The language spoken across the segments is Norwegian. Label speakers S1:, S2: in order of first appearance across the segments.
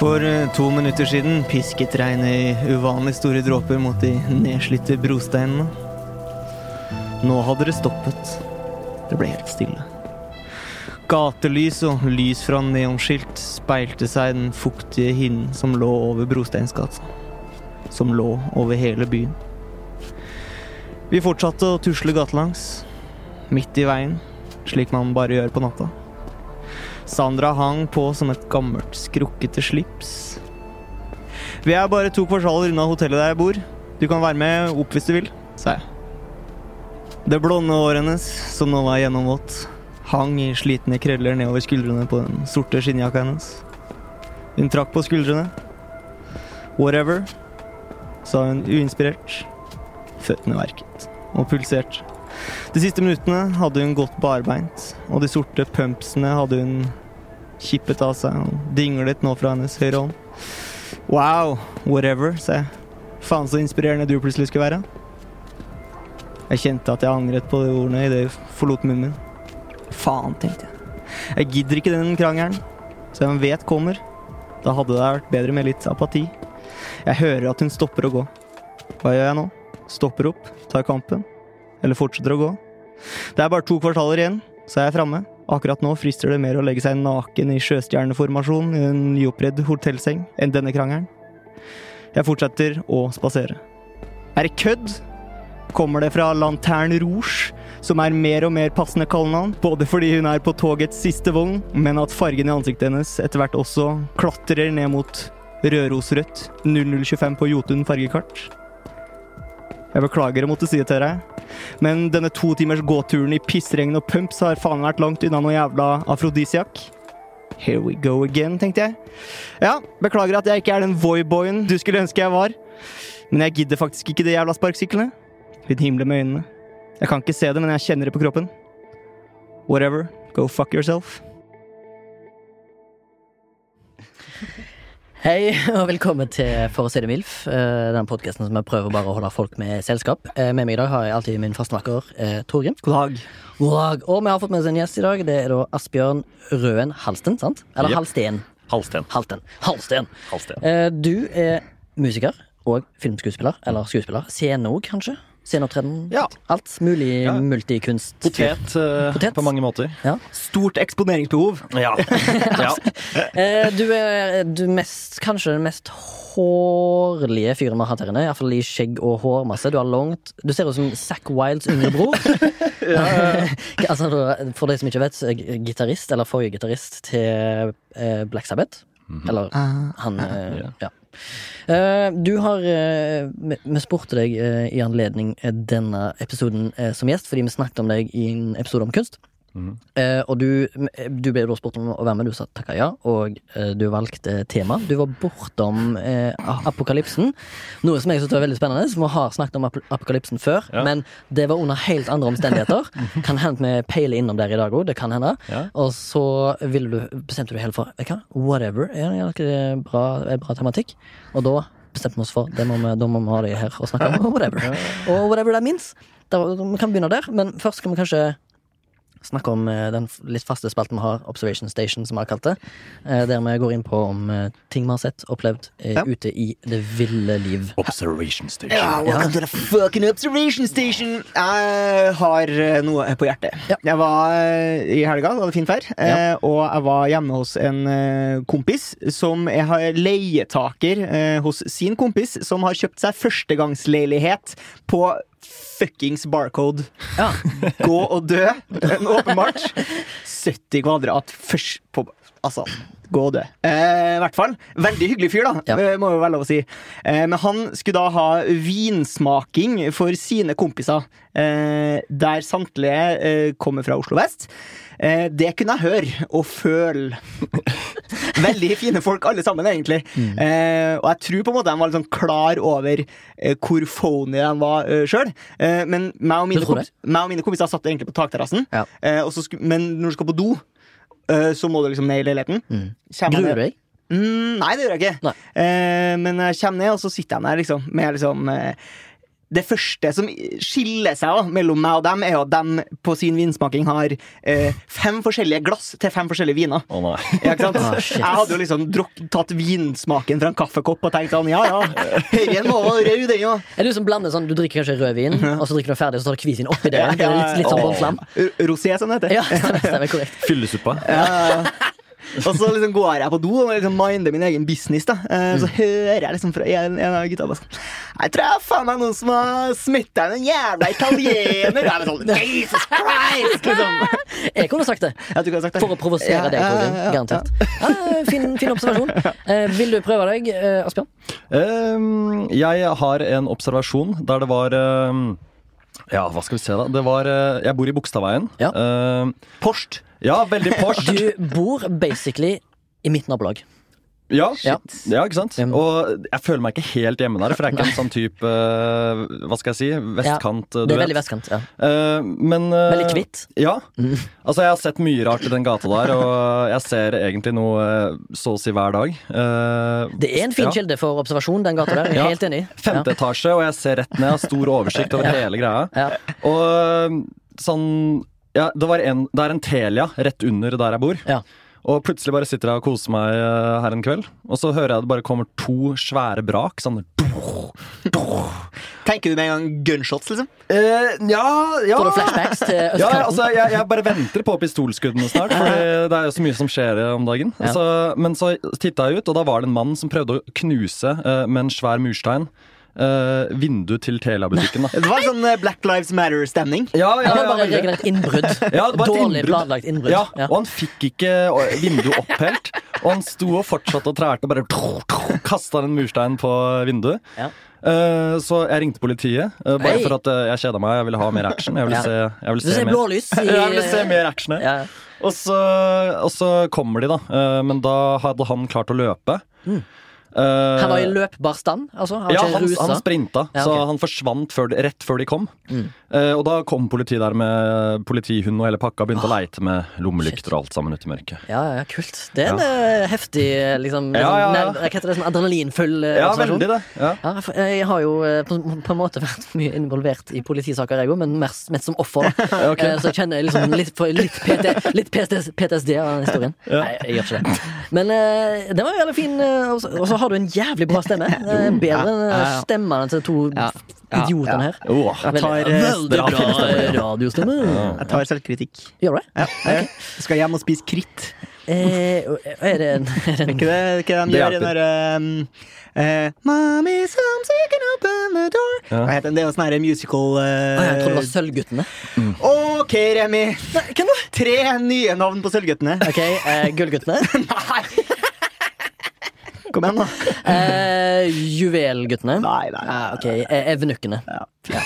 S1: For eh, to minutter siden pisket regnet i uvanlig store dråper mot de nedslitte brosteinene. Nå hadde det stoppet. Det ble helt stille. Gatelys og lys fra neonskilt speilte seg i den fuktige hinnen som lå over Brosteinsgata. Som lå over hele byen. Vi fortsatte å tusle gatelangs. Midt i veien, slik man bare gjør på natta. Sandra hang på som et gammelt, skrukkete slips. Vi er bare to kvartaler unna hotellet der jeg bor. Du kan være med opp hvis du vil, sa jeg. Det blonde håret hennes, som nå var gjennomvått, hang i slitne krøller nedover skuldrene på den sorte skinnjakka hennes. Hun trakk på skuldrene. Whatever, sa hun uinspirert. Føttene verket og pulserte. De siste minuttene hadde hun gått barbeint, og de sorte pumpsene hadde hun kippet av seg og dinglet nå fra hennes høyre hånd. Wow, whatever, sa jeg. Faen så inspirerende du plutselig skulle være. Jeg kjente at jeg angret på de ordene idet jeg forlot munnen min. Faen, tenkte jeg. Jeg gidder ikke den krangelen, så jeg vet kommer. Da hadde det vært bedre med litt apati. Jeg hører at hun stopper å gå. Hva gjør jeg nå? Stopper opp, tar kampen. Eller fortsetter å gå. Det er bare to kvartaler igjen, så er jeg framme. Akkurat nå frister det mer å legge seg naken i sjøstjerneformasjon i en nyoppredd hotellseng enn denne krangelen. Jeg fortsetter å spasere. Er det kødd? Kommer det fra Lanterne Rouge, som er mer og mer passende kallenavn, både fordi hun er på togets siste vogn, men at fargen i ansiktet hennes etter hvert også klatrer ned mot rødrosrødt 0025 på Jotun fargekart? Jeg beklager å måtte si det til deg. Men denne to timers gåturen i pissregn og pumps har faen vært langt unna noe jævla afrodisiak. Here we go again, tenkte jeg. Ja, beklager at jeg ikke er den voyboyen du skulle ønske jeg var. Men jeg gidder faktisk ikke de jævla sparkesyklene. Hun himler med øynene. Jeg kan ikke se det, men jeg kjenner det på kroppen. Whatever. Go fuck yourself.
S2: Hei, og velkommen til For å si det MILF. eh, Den podkasten som jeg prøver bare å holde folk med selskap. Eh, Med meg i dag har jeg alltid min faste makker eh, Torgrim.
S1: God dag.
S2: God dag. Og vi har fått med oss en gjest i dag. Det er da Asbjørn Røen Halsten, sant? Eller
S3: Jep.
S2: Halsten.
S3: Halsten.
S2: Halten. Halsten.
S3: Halsten.
S2: Eh, Du er musiker og filmskuespiller. Eller skuespiller. Scene òg, kanskje? Sceneopptreden?
S3: Ja.
S2: Alt mulig
S3: Ja.
S2: multikunst.
S3: Potet, eh,
S2: Potet.
S3: på mange måter.
S2: Ja.
S1: Stort eksponeringsbehov.
S3: Ja. ja.
S2: Eh, Du er du mest, kanskje den mest hårlige fyren vi har hatt her inne. Iallfall i skjegg og hårmasse. Du har langt Du ser ut som Zack Wilds yngre bror. altså, for de som ikke vet, så er jeg gitarist, eller forrige gitarist til eh, Black Sabbath. Eller han eh, Ja. Eh, Du har eh, Vi vi spurte deg eh, i anledning eh, denne episoden eh, som gjest, fordi vi snakket om deg i en episode om kunst. Eh, og du, du ble da spurt om å være med, du sa takka ja, og eh, du valgte tema. Du var bortom eh, a- apokalypsen, noe som jeg synes var veldig spennende. Som vi har snakket om ap apokalypsen før,
S3: Ja. Mhm.
S2: men det var under helt andre omstendigheter. kan hende vi peiler innom der i dag òg, det kan hende.
S3: Ja.
S2: Og så ville du, bestemte du deg helt for vet du hva, whatever, er det ikke bra, er det bra tematikk? Og da bestemte vi oss for det må vi, da må vi ha det her og snakke om, og whatever. Og whatever that means. Da, vi kan begynne der, men først kan vi kanskje snakke om eh, den f- litt faste spalten vi har, Observation Station, som vi har kalt det. eh, Der vi går inn på om eh, ting vi har sett, opplevd, eh,
S1: Ja.
S2: ute i det ville liv.
S3: Observation station.
S1: Ja, welcome to the fucking observation station. Jeg har eh, noe på hjertet.
S2: Ja.
S1: Jeg var eh, i helga, det var fint vær, eh, og jeg var hjemme hos en eh, kompis som jeg har leietaker eh, hos sin kompis, som har kjøpt seg førstegangsleilighet på fuckings barcode.
S2: Ja.
S1: Gå og dø, men åpenbart. 70 kvadrat først på Altså, gå og dø. Eh, I hvert fall. Veldig hyggelig fyr, da.
S2: Ja.
S1: Eh, må jo være lov å si. Eh, men han skulle da ha vinsmaking for sine kompiser, eh, der samtlige eh, kommer fra Oslo vest. Eh, det kunne jeg høre og føle. Veldig fine folk, alle sammen, egentlig.
S2: Mm.
S1: Eh, og jeg tror på en måte de var litt sånn klar over eh, hvor phony de var eh, sjøl. Eh, men meg og, mine
S2: tror det?
S1: kompis- meg og mine kompiser satt egentlig på takterrassen.
S2: Ja.
S1: Eh, og så sku, men når du skal på do, eh, så må du liksom ned i leiligheten. Kjem jeg
S2: Gruer
S1: ned-
S2: du deg?
S1: Mm, nei, det gjør jeg ikke.
S2: Nei.
S1: Eh, men jeg kommer ned, og så sitter jeg der liksom, med liksom eh, Det første som skiller seg da, mellom meg og dem, er jo at de på sin vinsmaking har eh, fem forskjellige glass til fem forskjellige viner.
S3: Å nei.
S1: Ja, ikke sant?
S2: Ah, shit.
S1: jeg hadde jo liksom drukk, tatt vinsmaken fra en kaffekopp og tenkt sånn, ja ja, herren må være rød, den jo.
S2: Er det du som blander sånn, du drikker kanskje rødvin, og så drikker du ferdig, og så tar du hvitvin oppi det? igjen? Det er litt, litt sånn
S3: Åh.
S2: Bon Flam.
S1: R- Rosé, som det heter.
S2: Ja, stemmer, stemmer, korrekt.
S3: Fyllesuppa.
S1: Eh, Og så liksom går jeg på do og liksom minder min egen business. da Eh,
S2: Mm.
S1: Så hører jeg liksom fra en, en av gutta bare sånn Jeg tror jeg har faen meg noen som har smitta en jævla italiener! Og jeg bare sånn, Jesus Christ! Liksom.
S2: Jeg kunne sagt det.
S1: Jeg tror ikke jeg har sagt det.
S2: For å provosere
S1: Ja,
S2: deg,
S1: ja,
S2: Torgrim.
S1: ja, ja.
S2: Garantert. Ah, fin, fin observasjon. Eh, vil du prøve deg, eh, Asbjørn?
S3: Ehm, jeg har en observasjon der det var ehm, Ja, hva skal vi se, da? Det var eh, Jeg bor i Bogstadveien.
S2: Ja.
S3: Ehm,
S1: Porst.
S3: ja, veldig Porsch.
S2: Du bor basically i mitt nabolag.
S3: Ja,
S2: Ja.
S3: ja, ikke sant?
S2: Mm.
S3: Og jeg føler meg ikke helt hjemme der, for jeg er ikke en sånn type eh, Hva skal jeg si? Vestkant,
S2: Det
S3: eh, du
S2: er veldig
S3: vet.
S2: vestkant. Ja.
S3: Eh, men eh,
S2: Veldig kvitt. Mm.
S3: Ja. Altså, jeg har sett mye rart i den gata der, og eh, jeg ser egentlig noe eh, så å si hver dag. Eh,
S2: Det er en fin
S3: ja.
S2: kilde for observasjon, den gata der. Jeg
S3: Ja.
S2: er Helt enig.
S3: Femte etasje, og jeg ser rett ned. Jeg har stor oversikt over hele greia.
S2: Ja. Ja.
S3: Og øhm, sånn ja, det, var en, det er en Telia rett under der jeg bor.
S2: Ja.
S3: Og plutselig bare sitter jeg og koser meg øh, her en kveld, og så hører jeg det bare kommer to svære brak. Sånn
S1: Tenker du med en gang gunshots, liksom?
S3: eh, Ja, ja.
S2: Får du flashbacks til
S3: Ja,
S2: østkanten?
S3: altså, jeg, jeg bare venter på pistolskuddene snart, for det er jo så mye som skjer om dagen.
S2: Ja.
S3: Så, men så titta jeg ut, og da var det en mann som prøvde å knuse eh, med en svær murstein eh, vinduet til Telia-butikken. da.
S1: Det var sånn eh, Black Lives Matter-stemning.
S3: Ja,
S2: Ja, det
S3: ja,
S2: var bare
S3: veldig.
S2: regelrett innbrudd.
S3: Ja, det var et
S2: Dårlig
S3: innbrudd.
S2: planlagt innbrudd.
S3: Ja,
S2: Ja.
S3: Og han fikk ikke vinduet opphelt. Og han sto og fortsatte å trælte og bare kasta en murstein på vinduet.
S2: Ja.
S3: Eh, Så jeg ringte politiet, eh, bare
S2: Hei.
S3: for at eh, jeg kjeda meg. Jeg ville ha mer action. Jeg ville
S2: Ja.
S3: se, jeg
S2: Du
S3: ville se
S2: ser
S3: mer.
S2: blålys i
S3: Jeg ville se mer action. jeg.
S2: Ja.
S3: Og så, og så kommer de, da. Eh, Men da hadde han klart å løpe. Eh,
S2: Mm. Han var i løpbar stand, altså? Han var
S3: ja,
S2: ikke
S3: han,
S2: rusa?
S3: han sprinta,
S2: Ja,
S3: så
S2: ok. Mm.
S3: han forsvant før, de- rett før de kom. Eh, og da kom politiet der med politihund og hele pakka og begynte
S2: Ah.
S3: å leite med lommelykter og alt sammen ute i mørket.
S2: Ja, ja, kult. Det er en eh, heftig eh, liksom,
S3: Ja,
S2: liksom,
S3: ja, ja.
S2: nerv- Hva heter det? Sånn adrenalinfull eh,
S3: Ja,
S2: observasjon?
S3: veldig det. Ja.
S2: Ja, for jeg har jo eh, på, på en måte vært mye involvert i politisaker, jeg òg, men mest, mest som offer. da.
S3: Ok.
S2: Eh, Så jeg kjenner liksom litt, for, litt, PT, litt PTS, PTSD av den historien. Nei, jeg gjør ikke det. Men eh, det var jo veldig fin, eh, og så- og så har du en jævlig bra stemme. Eh, Bedre enn eh, stemmene til de to
S1: Ja. Ja,
S2: idiotene
S1: ja.
S2: her.
S3: Åh.
S1: Jeg tar,
S2: Veldig,
S1: eh,
S2: veldig
S3: bra
S2: bra
S3: filmstemme.
S2: radiostemme.
S1: Jeg tar selvkritikk.
S2: Gjør du det?
S1: Ja. jeg Skal hjem og spise kritt.
S2: Eh, og- er det en, er det en
S1: Ikke det, ikke den
S3: Det
S1: der, den
S3: hjelper.
S1: derre um, eh, Mommy, comes, you can open the door
S3: Ja.
S1: Hva heter den? Det er jo sånn her musical
S2: Å, Jeg trodde det
S1: eh,
S2: var Sølvguttene.
S1: Ok, Remi. Tre nye navn på Sølvguttene.
S2: Ok, eh, Gullguttene.
S1: Kom igjen, da.
S2: Eh, juvelguttene.
S1: Nei, nei.
S2: Ja, ok, eh, Evnukkene.
S1: Ja.
S2: Ja,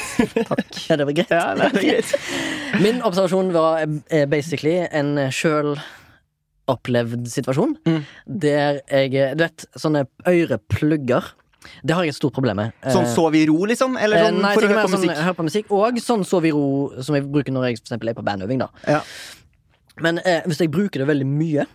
S2: det var greit.
S1: Ja, nei, det er greit. Sånn,
S2: Min observasjon var eh, basically en sjøl opplevd situasjon.
S1: Mm.
S2: Der jeg eh, Du vet, sånne øreplugger. Det har jeg et stort problem med. Eh,
S1: Sånn sov i ro, liksom? Eller
S2: eh,
S1: sånn
S2: nei,
S1: for å
S2: tenker
S1: høre
S2: mer
S1: på
S2: sånn,
S1: musikk?
S2: hør på musikk. Og sånn sov i ro, som jeg bruker når jeg for eksempel, er på bandøving. da
S1: Ja.
S2: Men eh, hvis jeg bruker det veldig mye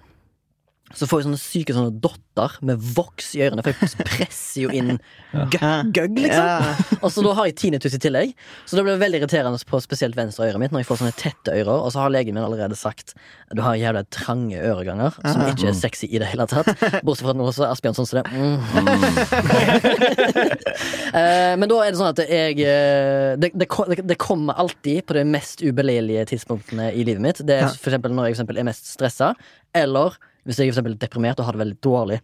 S2: så får jeg sånne syke sånne dotter med voks i ørene, for jeg presser jo inn gøgg, gøgg liksom.
S1: Ja.
S2: Og så da har jeg tinnitus i tillegg, så det blir veldig irriterende på spesielt venstre øret mitt når jeg får sånne tette ører, og så har legen min allerede sagt du har jævla trange øreganger, som ikke er sexy i det hele tatt. Bortsett fra at nå så er Asbjørn sånn som det. Mm. Eh, Men da er det sånn at jeg eh, det, det, ko- det kommer alltid på de mest ubelegelige tidspunktene i livet mitt. Det er for eksempel når jeg for eksempel er mest stressa, eller hvis jeg for eksempel er deprimert og har det veldig dårlig.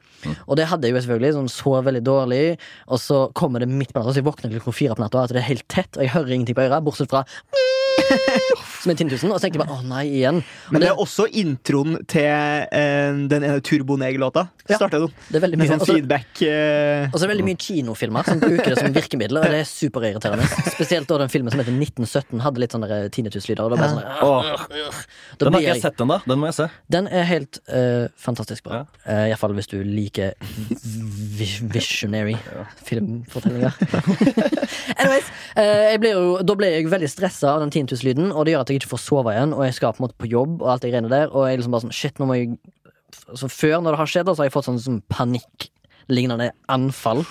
S2: Og det hadde jeg jo selvfølgelig. Sånn, sov veldig dårlig, og så kommer det midt på natta, så jeg våkner klokka fire på natta, at det er helt tett, og jeg hører ingenting på øret, bortsett fra Som en tinntusen. Og så tenker jeg bare å nei, igjen. Og
S1: Men det
S2: det,
S1: er også introen til eh, den ene Turboneger-låta.
S2: Ja.
S1: Startet jo
S2: det er veldig
S1: Med
S2: mye Altså- Og
S1: sånn
S2: så
S1: feedback. Eh,
S2: og så er det veldig mye kinofilmer som bruker det som virkemiddel, og det er superirriterende. Spesielt da den filmen som heter 1917 hadde litt sånne tinnituslyder. og det var bare sånn,
S3: Åh,
S2: da
S3: den har
S2: blir
S3: ikke
S2: jeg-
S3: jeg sett ennå. Den må jeg se.
S2: Den er helt eh, fantastisk bra. Eh, Ja. Iallfall hvis du liker vi- visionary filmfortellinger. Anyways, eh, jeg blir jo, da blir jeg veldig stressa av den tinnituslyden, og det gjør at jeg ikke får sove igjen, og jeg skal på en måte på jobb, og alt det greiene der, og jeg liksom bare sånn Shit, nå må jeg så Før, når det har skjedd, da, så har jeg fått sånn, sånn panikklignende anfall.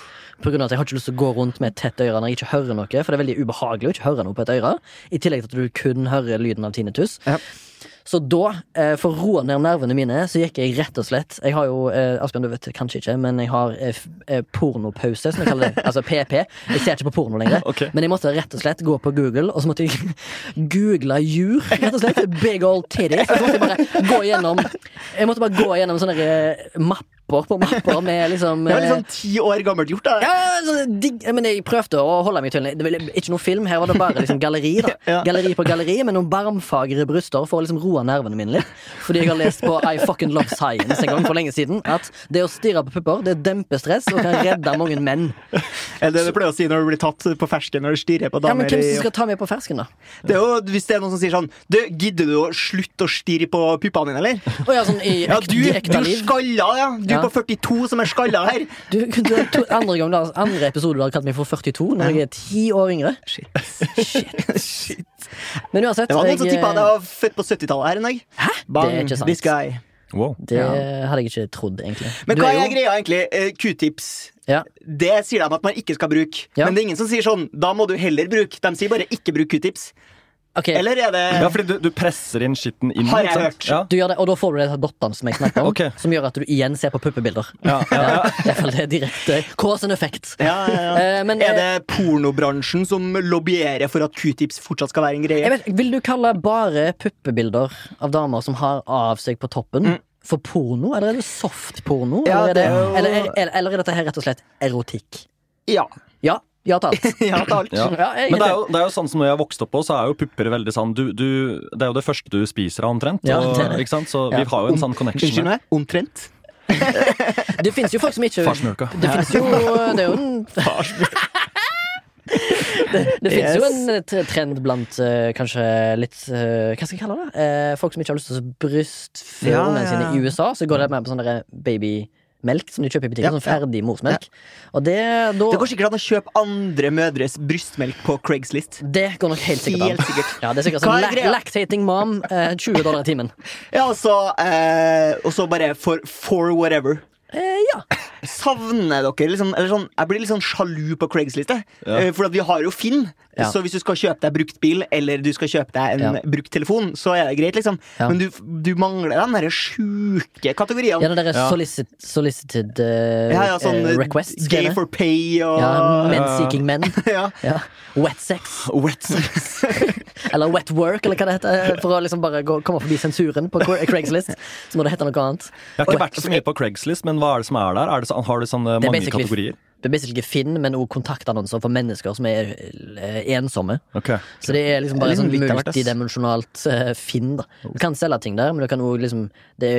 S2: På grunn av at Jeg har ikke lyst til å gå rundt med et tett øre når jeg ikke hører noe. For det er veldig ubehagelig å ikke høre noe på et øre. I tillegg til at du kun hører lyden av tinnitus.
S1: Ja.
S2: Så da, eh, for å roe ned nervene mine, så gikk jeg rett og slett Jeg har jo, eh, Asbjørn, du vet kanskje ikke, men jeg har eh, f- eh, pornopause, som jeg kaller det. altså PP. Jeg ser ikke på porno lenger.
S3: Ok.
S2: Men jeg måtte rett og slett gå på Google, og så måtte jeg google jur. Rett og slett Big old titty. Så måtte jeg bare gå gjennom Jeg måtte bare gå gjennom sånne eh, mapper på mapper med liksom
S1: det
S2: eh,
S1: var litt sånn ti år gammelt gjort. da
S2: ja, ja, sånn digg, men jeg prøvde å holde meg til det. var Ikke noe film, her var det bare liksom galleri. da
S1: Ja.
S2: Galleri på galleri med noen barmfagre bryster for å liksom roe nervene mine litt. Fordi jeg har lest på I Fucking Love Science en gang for lenge siden at det å stirre på pupper Det demper stress og kan redde mange menn.
S1: Eller det du pleier å si når du blir tatt på fersken når du stirrer på
S2: Ja, men
S1: damer.
S2: Hvem
S1: i-
S2: som skal ta med på fersken, da?
S1: det er jo, hvis det er noen som sier sånn Du, gidder du å slutte å stirre på puppene dine, eller?
S2: Å ja, sånn i
S1: Ja,
S2: ekte,
S1: du,
S2: i
S1: du
S2: ekte liv.
S1: skalla, ja. Du
S2: Ja.
S1: på 42 som er skalla her.
S2: Du, du, to, andre, gang, du har- andre episode du har kalt meg for 42, når jeg er ti år yngre.
S1: Shit.
S2: Men uansett
S1: Det var noen
S2: jeg,
S1: som
S2: eh,
S1: tippa at jeg var født på 70-tallet her en dag. Hæ? Bang,
S2: Det er ikke sant.
S1: This guy.
S3: Wow.
S2: Det hadde jeg ikke trodd, egentlig.
S1: Men
S2: Du
S1: hva
S2: jo-
S1: er greia, egentlig? Eh, Q-tips.
S2: Ja.
S1: Det sier de at man ikke skal bruke.
S2: Ja.
S1: Men det er ingen som sier sånn. Da må du heller bruke. De sier bare 'ikke bruk q-tips'.
S2: Ok,
S1: Eller er det
S3: Ja, fordi du, du presser inn skitten inn.
S1: Har jeg
S3: ikke sant?
S1: hørt.
S3: Ja.
S2: Du gjør det, og da får du det dottene som jeg snakket om,
S3: Ok.
S2: som gjør at du igjen ser på puppebilder.
S3: Ja, ja, ja.
S2: I hvert fall det er direkte cause and effect.
S1: ja, ja, ja.
S2: Eh, men
S1: Er det pornobransjen som lobbyerer for at q-tips fortsatt skal være en
S2: eh, jeg
S1: greie?
S2: vet, Vil du kalle bare puppebilder av damer som har av seg på toppen, for porno? Eller er det softporno?
S1: Ja,
S2: eller, er
S1: det
S2: det,
S1: er jo-
S2: eller, er- eller, eller er dette her rett og slett erotikk?
S1: Ja.
S2: Ja. Ja til alt.
S1: ja til alt.
S3: Ja.
S2: Ja, jeg-
S3: Men det er, jo, det er jo sånn som når jeg vokste opp, også, så er jo pupper veldig sånn du, du, Det er jo det første du spiser av, omtrent.
S2: Ja,
S3: og,
S2: det er det.
S3: Ikke sant? Så
S2: Ja.
S3: vi har jo en sånn
S1: Unnskyld
S3: connection.
S1: meg? Omtrent?
S2: Det finnes jo folk som ikke
S3: Farsmjølka.
S2: Det finnes jo Det er jo en Det, det finnes jo en t- trend blant eh, kanskje litt eh, Hva skal jeg kalle det? Eh, folk som ikke har lyst til å brystføde
S1: Ja,
S2: ungene
S1: ja,
S2: sine
S1: ja.
S2: i USA, så går det mer på sånn derre babymelk som de kjøper i butikken.
S1: Ja,
S2: sånn ferdig morsmelk. Og det da
S1: Det går sikkert an å kjøpe andre mødres brystmelk på Craigslist.
S2: det går nok helt sikkert an.
S1: Helt sikkert.
S2: Ja, det er sikkert
S1: Hva
S2: sånn
S1: er
S2: lac-
S1: greia?
S2: Lactating mom, eh, 20 dollar i timen.
S1: Ja, og så eh, og så bare for, for whatever.
S2: Eh, ja.
S1: Savner dere liksom, eller sånn, Jeg blir litt sånn sjalu på Craigslist. jeg. Eh, For at vi har jo Finn.
S2: Ja.
S1: Så hvis du skal kjøpe deg brukt bil eller du skal kjøpe deg en
S2: Ja.
S1: brukt telefon, så er det greit. liksom
S2: Ja.
S1: Men du, du mangler den derre sjuke kategorien.
S2: Ja, det der er
S3: Ja.
S2: solicit, solicited eh,
S1: Ja, ja, sånn
S2: eh,
S1: eh,
S2: request. skal
S1: gay
S2: jeg det?
S1: for pay og
S2: ja, Men seeking men.
S1: Ja.
S2: Ja. Wet sex,
S1: Wet sex.
S2: eller wet work, eller hva det heter. For å liksom bare gå, komme forbi sensuren på Cra- Craigslist. Så må det hete noe annet.
S3: Jeg har ikke vært så mye på Craigslist, men hva er det som er der? Er det så, har du sånne
S2: Det er
S3: mange
S2: basically-
S3: kategorier?
S2: Det er basically Finn, men òg kontaktannonser for mennesker som er eh, ensomme.
S3: Ok.
S2: Så det er liksom bare
S1: Det er
S2: sånn
S1: litt av hvert, ass.
S2: multidimensjonalt eh, Finn. da Du kan selge ting der, men du kan også liksom Det er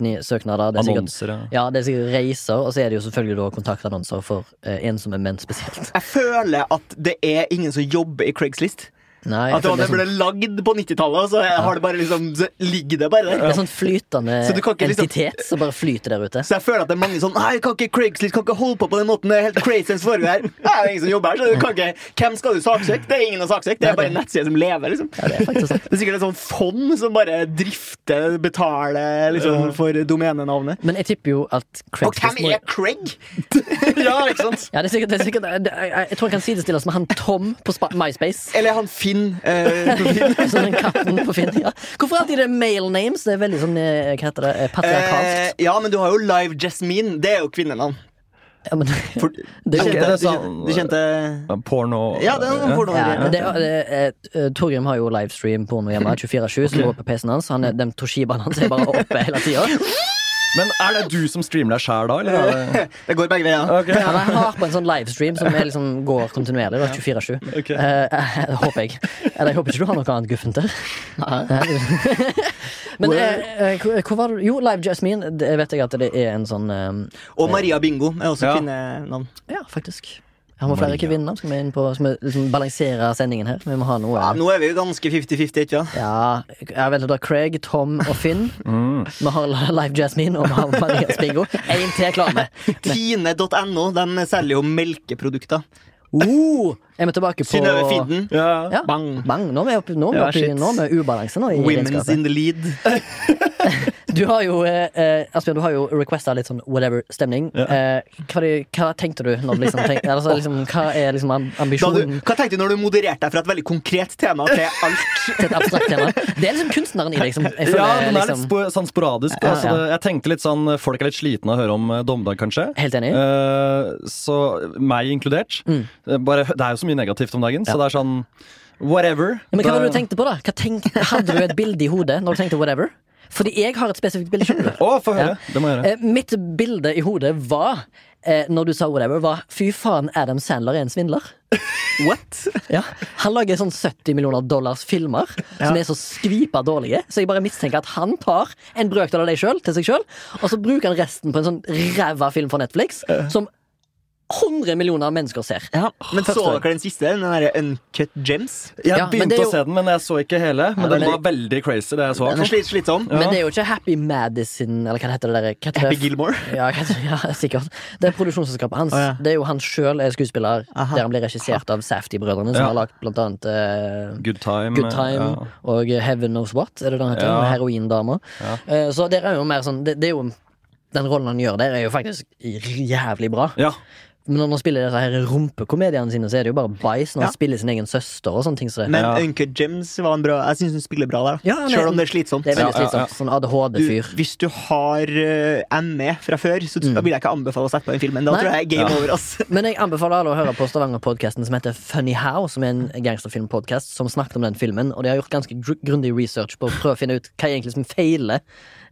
S2: jobbsøknader. Det er sikkert,
S3: Annonser, ja.
S2: ja, det er sikkert reiser, og så er det jo selvfølgelig da kontaktannonser for eh, ensomme menn spesielt.
S1: Jeg føler at det er ingen som jobber i Craigslist.
S2: Nei, jeg
S1: At det, var-
S2: føler det,
S1: det ble
S2: er sånn,
S1: lagd på 90-tallet, og så har det bare liksom, så ligger det bare
S2: det
S1: der.
S2: er sånn flytende
S1: Så du kan ikke liksom-
S2: entitet som bare flyter der ute.
S1: Så jeg føler at det er mange sånn Nei, kan ikke Craigslist kan ikke holde på på den måten. Det er helt crazy enn som foregår her. Nei, det er ingen som jobber her, så du kan ikke Hvem skal du saksøke? Det er ingen å saksøke. Det er bare en nettside som lever, liksom.
S2: Ja, det er faktisk sånn. sant.
S1: Det er sikkert et sånt fond som bare drifter, betaler liksom, for domenenavnet.
S2: Men jeg tipper jo at
S1: Og
S2: Craigslist
S1: hvem
S2: må-
S1: er Craig? ja, ikke sant?
S2: Ja, det er sikkert, det er sikkert jeg, jeg, jeg tror jeg kan sidestilles med han Tom på Spa- MySpace.
S1: Eller han Finn. Eh, på Finn.
S2: Som den katten på Finn, ja. Hvorfor alltid det er male names? Det er veldig sånn, eh, hva heter det, eh,
S1: Eh,
S2: patriarkalsk.
S1: ja, men du har jo Live Jasmine. Det er jo kvinnenavn.
S2: Ja, men,
S1: For, du,
S2: er jo-
S1: kjente,
S3: det er
S1: du,
S3: sånn-
S1: kjente, du kjente
S3: Porno
S1: Ja, det er noen porno.
S2: ja, men det, det, eh, Torgrim har jo livestream porno hjemme 24-7, som går på PC-en hans. Han er, de Toshibaene hans er bare oppe hele tida.
S3: Men er det du som streamer deg sjæl da, eller? Er det...
S1: Det går begge veier.
S3: Ok.
S2: Ja, nei, jeg har på en sånn livestream som er liksom går kontinuerlig. da, 24-7.
S3: Ok.
S2: Eh, eh, håper jeg. Eller jeg håper ikke du har noe annet guffent der. Men eh, eh, hvor hvor var det Jo, Live Jasmine. Det vet jeg at det er en sånn eh,
S1: Og Maria Bingo er også
S3: Ja.
S1: kvinnenavn.
S2: Ja, faktisk. Jeg har med flere
S3: Maria.
S2: kvinner. Skal vi, inn på, skal vi liksom balansere sendingen her? Vi må ha noe.
S1: Ja, nå er vi jo ganske 50-50, ikke sant?
S2: Ja, jeg vet at det er Craig, Tom og Finn. Vi har Live Jasmine og vi har Maria Spingo. Én til klarer vi.
S1: Tine.no de selger jo melkeprodukter.
S2: Oh, er vi tilbake på
S1: Synnøve Finden.
S3: Ja.
S2: Ja. Mm. Bang. Nå er vi oppe, nå er vi
S1: Ja,
S2: oppe, i-
S1: shit.
S2: nå er vi i ubalanse nå i
S1: Women's
S2: regnskapet.
S1: in the lead.
S2: Du har jo, eh, eh, Asbjørn, du har jo requesta litt sånn whatever-stemning. Eh, hva, er det- hva tenkte du når du liksom tenkte altså, liksom, Hva er liksom am-
S1: Da du,
S2: ambisjonen
S1: hva tenkte du når du modererte deg fra et veldig konkret tema til alt?
S2: til et abstrakt tema? Det er liksom kunstneren i deg som jeg
S3: Ja,
S2: føler
S3: den er litt
S2: liksom
S3: spo sånn sporadisk.
S2: Ja,
S3: altså,
S2: ja.
S3: det- Jeg tenkte litt sånn Folk er litt slitne av å høre om eh, dommedag, kanskje.
S2: Helt enig. Mm.
S3: Eh, så meg inkludert. Eh, Bare, det er jo så mye negativt om dagen, så det er sånn whatever.
S2: Ja, Men hva var det du
S3: Da-
S2: tenkte på, da? Hva tenkte, hadde du et bilde i hodet når du tenkte whatever? Fordi jeg har et spesifikt bilde. skjønner du?
S3: Å, få høre! Det må jeg gjøre.
S2: Eh, mitt bilde i hodet var, eh, når du sa whatever, var fy faen, Adam Sandler er en svindler.
S1: What?
S2: Ja. Han lager sånn 70 millioner dollars filmer som er så skvipa dårlige, så jeg bare mistenker at han tar en brøkdel av deg sjøl til seg sjøl, og så bruker han resten på en sånn ræva film fra Netflix som 100 millioner mennesker ser.
S1: Men så
S2: Forstår.
S1: dere den siste? Den derre Uncut Gems?
S3: Jeg
S2: Ja, men
S3: begynte
S2: det er jo-
S3: å se den, men jeg så ikke hele. Men
S2: det er
S3: den var
S2: veldig-
S3: veldig crazy, det jeg så.
S1: Den er slit, slitsom.
S3: Ja.
S2: Men det er jo ikke Happy Madison, eller hva det heter det der? Hva heter
S1: Happy
S2: det?
S1: Gilmore.
S2: Ja, jeg kan- ja, sikkert. Det er produksjonsselskapet hans.
S1: Å, ja.
S2: Det er jo han sjøl er skuespiller,
S1: Aha.
S2: der han blir regissert av Safety-brødrene, som
S3: Ja.
S2: har lagt blant annet eh,
S3: Good time.
S2: Good Time
S3: ja.
S2: og eh, Heaven Knows What, er det den heter?
S3: Ja.
S2: Ja. Heroindama. Eh, så der er jo mer sånn det, det er jo, Den rollen han gjør der, er jo faktisk jævlig bra.
S3: Ja.
S2: Men når han spiller disse her rumpekomediene sine, så er det jo bare bæsj når
S1: Ja.
S2: han spiller sin egen søster og sånne ting. Så det,
S1: Men
S3: Ja.
S1: Uncut Gems var en bra Jeg syns hun spiller bra der.
S2: Ja, han er-
S1: Selv om det er slitsomt.
S2: det er veldig
S3: Ja, ja, ja.
S2: slitsomt. Sånn
S1: du,
S2: ADHD-fyr.
S1: hvis du har eh, ME fra før, så da vil jeg ikke anbefale å sette på den filmen. Da
S2: Nei.
S1: tror jeg game over. ass
S2: Men jeg anbefaler alle å høre på Stavanger-podkasten som heter Funny How, som er en gangsterfilmpodkast som snakket om den filmen, og de har gjort ganske gr grundig research på å prøve å finne ut hva egentlig som feiler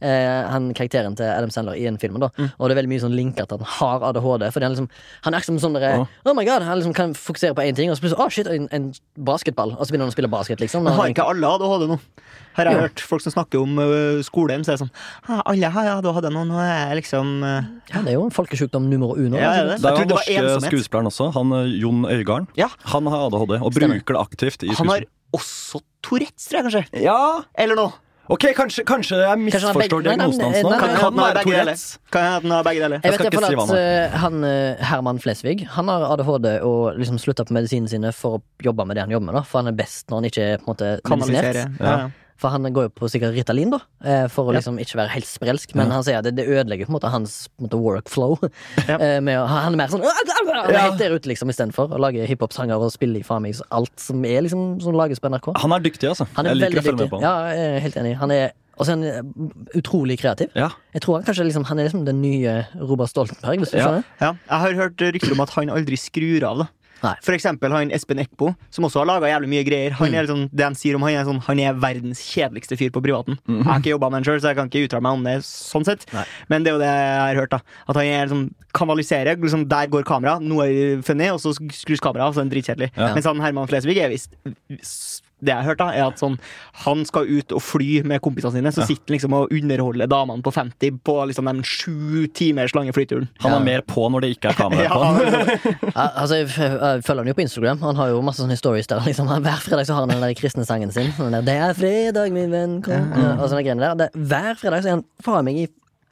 S2: eh, han karakteren til Adam Sandler i den filmen, da.
S1: Mm.
S2: Og det er veldig mye sånn linker til at han har ADHD, fordi han liksom Han er ikke som sånn derre Oh my god, han liksom kan fokusere på én ting, og så plutselig Å, shit, en, en basketball, og så begynner han å spille basket, liksom.
S1: Men
S2: Og
S1: har ikke alle ADHD nå? Her har jeg hørt folk som snakker om uh, skolehjem, så er det sånn «Ja, Alle har ADHD nå, nå er jeg liksom øh,
S2: ja, det er jo en folkesjukdom nummer uno.
S1: Ja,
S2: altså.
S1: er det?
S3: Det
S1: Jeg
S3: er
S1: trodde det
S3: jo den
S1: var
S3: norske
S1: ensomhet.
S3: skuespilleren også. Han eh, Jon Øigarden.
S1: Ja.
S3: Han har ADHD og
S2: Stemmer.
S3: bruker det aktivt i
S1: Han har
S3: skuespill.
S1: også Tourettes, tror jeg kanskje.
S3: Ja!
S1: Eller noe.
S3: Ok, kanskje, kanskje jeg
S2: han har
S3: misforstår
S2: begge- nei, nei,
S3: diagnosen hans
S2: nei,
S3: nå.
S2: nei,
S1: Kan
S2: nei, nei,
S1: jeg ha den
S3: Han
S1: av
S3: har
S1: begge deler?
S3: Tourettes.
S1: Kan jeg ha den av begge deler?
S2: Jeg
S3: Jeg
S2: vet
S3: skal
S2: i hvert
S3: ikke
S2: fall at
S3: si hva
S2: eh, han, eh, Herman Flesvig Han har ADHD og liksom slutta på medisinene sine for å jobbe med det han jobber med. da For han er best når han ikke er på en måte
S1: Kanalisere.
S2: medisinert.
S1: Ja.
S2: For han går jo på sikkert Ritalin, da eh, for å
S1: Ja.
S2: liksom ikke være helt sprelsk. Men han sier at det, det ødelegger på en måte hans på en måte, workflow.
S1: Ja.
S2: Eh, Med, å- han er mer sånn Han er
S3: Ja.
S2: helt der ute, liksom, istedenfor. Og lager hiphop-sanger og spiller i faen meg alt som er liksom Som lages på NRK.
S3: Han er dyktig, altså.
S2: Han er
S3: jeg liker
S2: veldig
S3: å følge
S2: dyktig.
S3: med på
S2: Ja,
S3: han.
S2: jeg er helt enig. Han er også en eh, utrolig kreativ.
S3: Ja.
S2: Jeg tror han kanskje liksom, Han er liksom den nye Robert Stoltenberg, hvis du
S3: Ja.
S2: skjønner.
S1: Ja. Jeg har hørt rykter om at han aldri skrur av. da
S2: Nei.
S1: For eksempel han Espen Eckbo, som også har laga jævlig mye greier. Han
S2: Mm.
S1: er liksom, det de sier om Han er sånn, han er verdens kjedeligste fyr på privaten. Jeg har ikke jobba med han sjøl, så jeg kan ikke uttale meg om det. sånn sett
S2: Mm. Nei.
S1: Men det er jo det jeg har hørt. da At han er liksom, kanaliserer. Liksom, der går kamera, noe er funny, og så skrus kameraet av. Så er det dritkjedelig.
S3: Ja.
S1: Mens han Herman Flesvig er visst det jeg har hørt da, er at sånn, Han skal ut og fly med kompisene sine, så sitter han liksom og underholder damene på 50 på liksom den sju timers lange flyturen.
S3: Han er mer på når det ikke er kamera på. han.
S2: Ja, altså, jeg, f- jeg følger han jo på Instagram. Han har jo masse sånne stories der. Liksom. Han- Hver fredag så har han den der kristne sangen sin. Den der, 'Det er fredag, min venn, kom'. Ja, og sånne greiene der. Det, hver fredag så er han faen meg i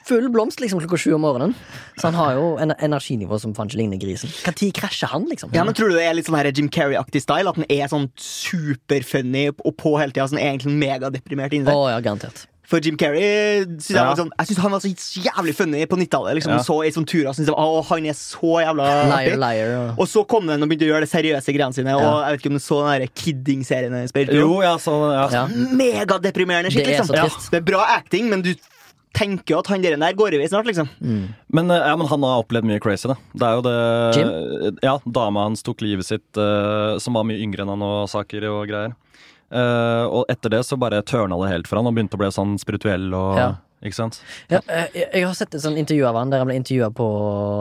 S2: full blomst liksom klokka sju om morgenen. Så han har jo en energinivå som faen ikke ligner grisen. Når krasjer han, liksom?
S1: Ja, men Tror du det er litt sånn her Jim Carrey-aktig style? At den er sånn superfunny og på hele tida? Sånn egentlig megadeprimert inni
S2: Å
S1: seg?
S2: ja, garantert.
S1: For Jim Carrey synes jeg,
S3: Ja.
S1: var sånn, jeg synes han var så jævlig funny på 90-tallet. Liksom.
S3: Ja.
S1: Så i sånn turer, synes jeg, å, han er så jævla
S2: Liar,
S1: artig.
S2: liar. Og...
S1: Og så kom den og begynte å gjøre de seriøse greiene sine. Og jeg vet ikke om du så den der Kidding-serien hennes på
S3: Jo,
S1: HBO?
S3: ja, så, ja.
S2: Ja.
S1: Megadeprimerende shit,
S2: Det er
S1: liksom.
S2: så trist.
S1: det er bra acting, men du tenker jo at han der der går i vei snart, liksom.
S3: Men, eh, ja, men han har opplevd mye crazy, da. Det er jo det Ja, Dama hans tok livet sitt, eh, som var mye yngre enn han og saker og greier. Eh, og etter det så bare tørna det helt for han og begynte å bli sånn spirituell og
S2: Ja.
S3: Ikke sant?
S2: Ja, eh, jeg, jeg har sett et sånt intervju av han der han ble intervjua på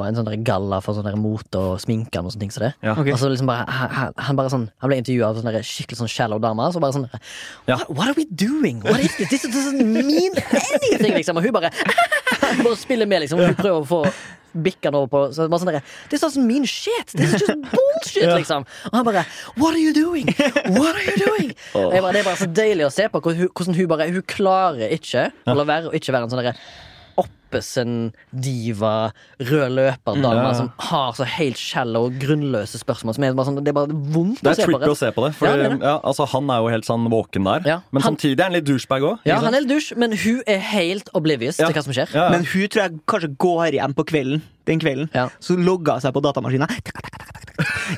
S2: en sånn der galla for sånn der mote og sminke og sånne ting som det.
S3: Ja.
S1: Ok.
S2: Og så liksom bare, han- han, han bare sånn Han ble intervjua av sånne der skikkelig sånn shallow damer. Så bare sånn
S3: Ja.
S2: what, what are we doing? What is this? This doesn't mean anything! Liksom. Og hun bare Bare spiller med, liksom. Hun prøver å få bikke han over på så det er bare sånn der, This doesn't mean shit! This is just bullshit! liksom Og han bare What are you doing? What are you doing? Og Jeg bare, det er bare så deilig å se på hvor hun- hvordan hun bare Hun klarer ikke å la være å ikke være en sånn derre Oppesen, diva, rød løper-dame
S3: ja.
S2: som har så helt shallow og grunnløse spørsmål. Som er bare sånn, det er bare vondt
S3: Det
S2: å
S3: er
S2: se på.
S3: trippy
S2: rett.
S3: å se på det. For
S2: Ja, det er det.
S3: ja, altså, han er jo helt sånn våken der.
S2: Ja.
S3: Men
S2: Han-
S3: samtidig er han litt douchebag òg.
S2: Ja, han er litt dusj, men hun er helt oblivious til hva som skjer.
S3: Ja, ja.
S1: Men hun tror jeg kanskje går hjem på kvelden den kvelden.
S2: Ja.
S1: Så logga hun seg på datamaskina. tak, tak, tak, tak, tak,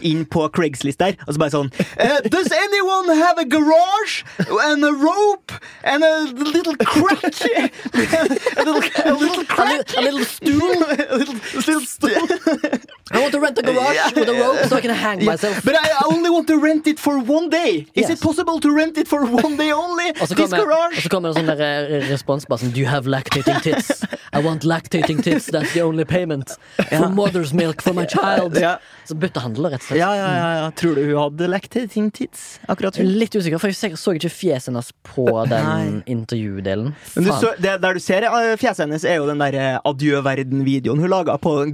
S1: Inn på Craigslist der, og så bare sånn eh, Does anyone have a garage? And a rope? And a little crack? A little, a little
S2: A
S1: crack?
S2: little, a little stool.
S1: A little, little st-
S2: I want to rent a garage with a rope so I can hang myself.
S1: But I only want to rent it for one day. Is
S2: Yes.
S1: it possible to rent it for one day only?
S2: Og så
S1: This
S2: kommer, og
S1: garage?
S2: så kommer det en sånn der, eh, respons bare sånn Do you have lactating tits? I want lactating tits. That's the only payment. For mother's milk for my child.
S1: Ja.
S2: Så byttehandler, rett og slett.
S1: Ja, ja, ja, ja. Tror du hun hadde lagt til sin tids? Akkurat hun.
S2: Litt usikker, for jeg ser- så ikke fjeset hennes på den
S1: Nei.
S2: intervjudelen.
S1: Men du,
S2: Faen.
S1: så, det, der du ser eh, fjeset hennes, er jo den der eh, Adjø verden-videoen hun laga på den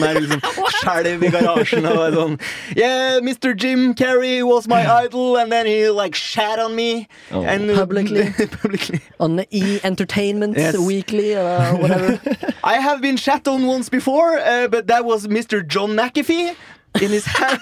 S1: Der liksom skjelv i garasjen og er sånn Yeah, Mr. Jim Carrey was my idol, and then he like shat on me.
S3: Oh.
S1: And, uh,
S2: Publicly.
S1: publicly.
S2: On E! Entertainment
S1: Yes.
S2: Weekly eller whatever.
S1: I have been shat on once before, eh, but that was Mr. John McAfee. In his hand.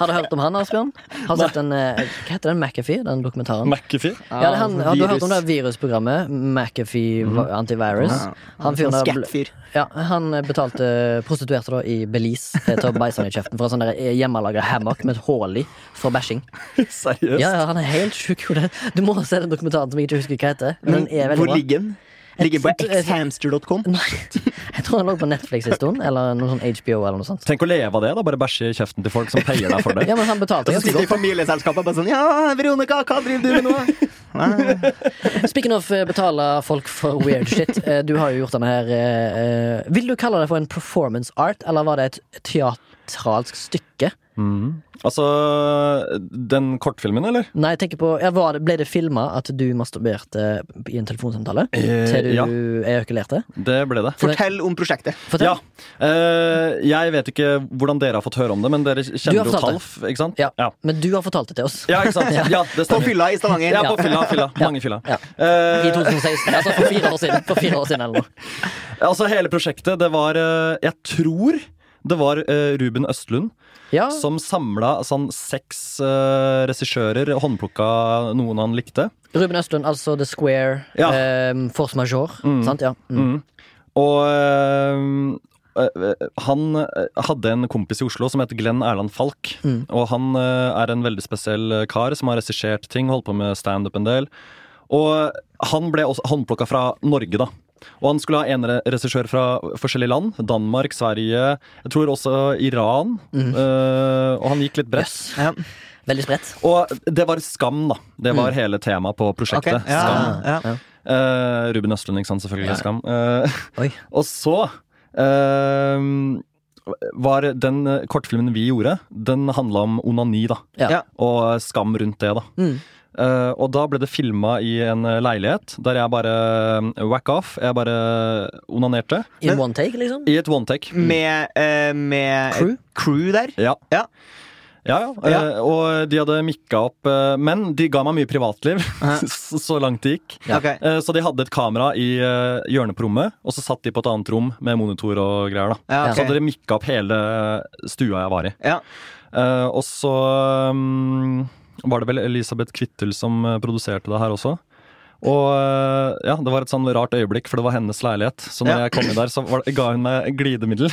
S2: Har du hørt om han, Asbjørn? Har du sett den, eh, hva heter den? McAfee? Den dokumentaren?
S3: McAfee.
S2: ja, det er han, har du hørt om det
S1: Virus. Mhm.
S2: virusprogrammet? McAfee Antivirus.
S1: Ja.
S2: Han fyren
S1: Sånn
S2: der ble-
S1: Skattfyr.
S2: Ja, han eh, betalte prostituerte da i Belize eh, til å bæsje han i kjeften for en sånn der hjemmelaga hammock med et hull i for bæsjing.
S3: Seriøst?
S2: Ja, ja, han er helt sjuk i hodet. Du må se den dokumentaren som jeg ikke husker hva heter. Men den er veldig
S1: Hvor
S2: bra.
S1: ligger den? Ligger på
S2: Jeg tror- jeg-
S1: xhamster.com.
S2: Nei, jeg tror han lå på Netflix en stund, eller noe sånn HBO eller noe sånt.
S3: Tenk å leve av det, da. Bare bæsje i kjeften til folk som payer deg for det.
S2: Ja, men han betalte
S1: Og så
S2: ganske
S1: sitter
S2: godt.
S1: familieselskapet bare sånn Ja, Veronica, hva driver du med nå?
S2: Speaking of eh, betale folk for weird shit, eh, du har jo gjort denne her eh, eh, Vil du kalle det for en performance art, eller var det et teatralsk stykke?
S3: Altså, den kortfilmen, eller?
S2: Nei, jeg tenker på ja, var det, Ble det filma at du masturberte i en telefonsamtale?
S3: Eh,
S2: til du
S3: ja.
S2: ejakulerte?
S3: Det ble det.
S1: Fortell om prosjektet.
S2: Fortell.
S3: Ja. Eh, jeg vet ikke hvordan dere har fått høre om det, men dere
S2: Du
S3: kjenner
S2: har
S3: jo
S2: fortalt det.
S3: Talf, ikke sant?
S2: Ja.
S3: ja.
S2: Men du har fortalt det til oss.
S3: Ja, ikke sant? Ja, det
S1: På
S3: stemmer.
S1: fylla i Stavanger.
S3: Ja, på fylla. fylla. Mange fylla.
S2: Ja.
S3: Eh,
S2: I 2016. Altså for fire år siden. For fire år siden eller noe.
S3: altså, hele prosjektet, det var eh, Jeg tror det var eh, Ruben Østlund
S2: Ja,
S3: som samla sånn seks eh, regissører, håndplukka noen han likte.
S2: Ruben Østlund, altså The Square,
S3: Ja.
S2: eh, Force Majeure. Sant? Ja. Mm.
S3: Og eh, eh, han eh, hadde en kompis i Oslo som het Glenn Erland Falk.
S1: Mm.
S3: Og han eh, er en veldig spesiell eh, kar som har regissert ting, holdt på med standup en del. Og han ble også håndplukka fra Norge, da. Og han skulle ha en re- regissør fra forskjellige land. Danmark, Sverige, jeg tror også Iran.
S1: Mm.
S3: Eh, og han gikk litt bredt.
S2: Yes.
S1: Ja.
S2: Veldig spredt.
S3: Og det var skam, da. Det var hele temaet på
S1: Mm. Ok,
S3: prosjektet.
S1: ja,
S3: Skam.
S1: ja.
S3: Eh, Ruben Østlund, ikke sant? Selvfølgelig. Skam. Eh,
S2: Oi.
S3: og så eh, var den eh, kortfilmen vi gjorde, den handla om onani, da.
S2: Ja.
S1: Ja.
S3: Og skam rundt det, da. Eh, og da ble det filma i en eh, leilighet der jeg bare eh, whack off. Jeg bare onanerte.
S2: In one take, liksom?
S3: I et one take.
S1: Med, eh, med
S2: Crew?
S1: crew der.
S3: Ja.
S1: Ja.
S3: Ja, ja. Eh,
S1: Ja.
S3: og de hadde mikka opp eh, Men de ga meg mye privatliv, så så langt det gikk.
S2: Ja.
S1: Ok.
S3: Eh, Så de hadde et kamera i eh, hjørnet på rommet, og så satt de på et annet rom med monitor og greier. da.
S1: Ja, ok.
S3: Så dere mikka opp hele stua jeg var i.
S1: Ja.
S3: Eh, Og så mm, var det vel Elisabeth Kvittel som eh, produserte det her også. Og eh, ja, det var et sånn rart øyeblikk, for det var hennes leilighet. Så når
S1: Ja.
S3: jeg kom inn der, så var, det- ga hun meg glidemiddel.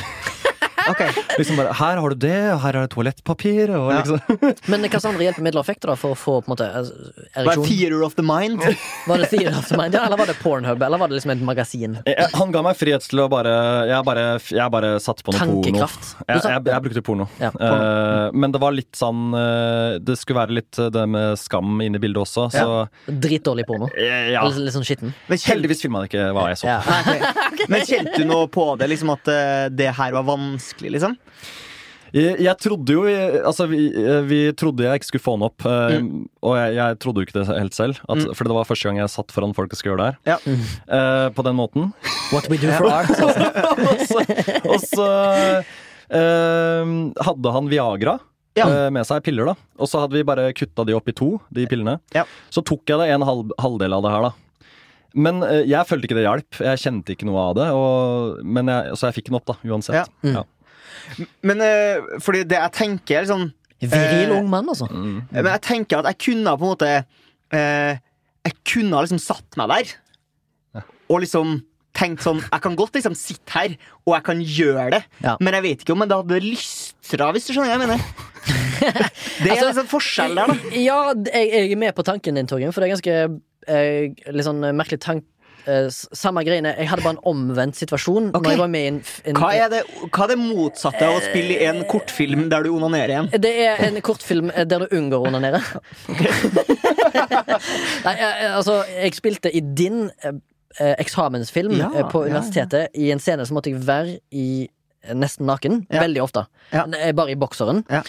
S1: Ok.
S3: Liksom bare, her har du det, og her er det toalettpapir. Og
S1: Ja.
S3: liksom.
S2: Men hva slags andre hjelpemidler fikk du da for å få på en måte eh,
S1: Hva er
S2: ereksjon?
S1: theater of the mind?
S2: Var det Theater of the Mind, ja, eller var det Pornhub, eller var det liksom et magasin?
S3: jeg, han ga meg frihet til å bare Jeg bare, jeg bare satte på noe porno.
S2: Tankekraft. Du
S3: Jeg,
S2: sa-
S3: jeg, jeg brukte porno.
S2: Ja,
S3: Eh, men det var litt sånn eh, Det skulle være litt eh, det med skam inn i bildet også, så
S2: Dritdårlig porno.
S3: Eh, ja.
S2: Litt- Litt sånn skitten.
S1: Men kjente,
S3: Heldigvis filma det ikke hva jeg så.
S2: Ja.
S1: Nei, ok. Men kjente du noe på det, liksom at eh, det her var vanskelig, liksom?
S3: Jeg, jeg trodde jo Altså, vi, vi trodde jeg ikke skulle få den opp. eh,
S2: Mm.
S3: Og jeg, jeg trodde jo ikke det helt selv. At, For det var første gang jeg satt foran folk og skulle gjøre det her.
S1: Ja.
S3: eh, på den måten.
S2: What we do for art.
S3: og så, og så eh, hadde han Viagra
S1: Ja.
S3: eh, med seg, piller, da. Og så hadde vi bare kutta de opp i to, de pillene.
S1: Ja.
S3: Så tok jeg det en halv, halvdel av det her, da. Men eh, jeg følte ikke det hjalp. Jeg kjente ikke noe av det. Og, men jeg, så jeg fikk den opp, da, uansett.
S1: Ja. Mm. Men eh, fordi det jeg tenker, er liksom
S2: Viril
S1: Eh,
S2: ung mann, altså.
S1: Men jeg tenker at jeg kunne på en måte eh, Jeg kunne ha liksom satt meg der og liksom tenkt sånn Jeg kan godt liksom sitte her, og jeg kan gjøre det,
S2: Ja.
S1: men jeg vet ikke om jeg da hadde lystra, hvis du skjønner hva jeg mener. Det er
S2: Altså,
S1: liksom forskjell der, da.
S2: Ja, d- jeg, jeg er med på tanken din, Torgrim, for det er ganske eh, litt sånn eh, merkelig tank... eh, s- samme greiene. Jeg hadde bare en omvendt situasjon
S1: Ok.
S2: Når jeg var med i en, f- en
S1: Hva er det, hva er det motsatte av å spille i en kortfilm der du onanerer igjen?
S2: Det er en kortfilm eh, der du unngår å onanere. Nei, eh, eh, altså, jeg spilte i din eh, eh, eksamensfilm
S1: Ja,
S2: eh, på
S1: ja, ja.
S2: universitetet. I en scene så måtte jeg være i eh, nesten naken.
S1: Ja.
S2: Veldig ofte.
S1: Ja.
S2: Eh, Bare i bokseren.
S1: Ja.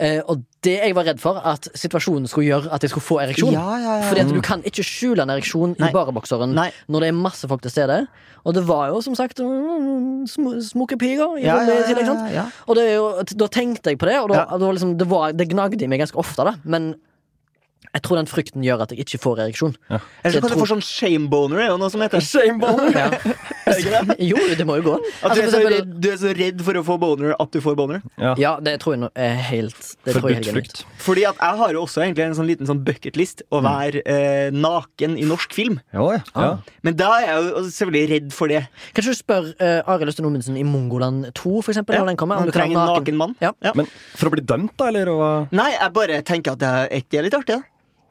S2: Eh, og det jeg var redd for, at situasjonen skulle gjøre at jeg skulle få ereksjon.
S1: ja,
S2: Fordi at du kan ikke skjule en ereksjon
S1: Nei.
S2: i barebokseren
S1: Nei.
S2: når det er masse folk til stede. Og det var jo som sagt mm, sm smukke piger i
S1: Ja, ja,
S2: rommet i tillegg.
S1: ja,
S2: sant?
S1: ja.
S2: Og det er jo, da tenkte jeg på det, og da,
S1: Ja.
S2: da liksom, det, var, det gnagde i meg ganske ofte. da Men jeg tror den frykten gjør at jeg ikke får ereksjon.
S1: Eller så
S2: Jeg
S1: kan du
S2: tror- Altså,
S1: få sånn shameboner, er jo noe som heter.
S2: Ja. jo, det må jo gå.
S1: At du
S2: Altså,
S1: er,
S2: for
S1: så
S2: eksempel,
S1: redd, du er så redd for å få boner at du får boner.
S3: Ja.
S2: ja, det tror jeg nå er helt det tror jeg
S3: Forbudt
S2: helt genuint.
S3: frukt.
S1: Fordi at jeg har jo også egentlig en sånn liten sånn bucketlist å være eh, naken i norsk film.
S3: Ja, ja.
S1: Ah.
S3: ja.
S1: Men da er jeg jo selvfølgelig redd for det.
S2: Kanskje du spør eh, Arild Østen Ommundsen i Mongoland 2, for eksempel,
S1: Ja,
S2: når den kommer. om
S1: han
S2: du kan
S1: trenger
S2: ha
S1: en naken mann.
S2: Ja.
S1: Ja.
S3: Men for å bli dømt, da, eller? Og,
S1: Nei, jeg bare tenker at det er ikke litt artig, da.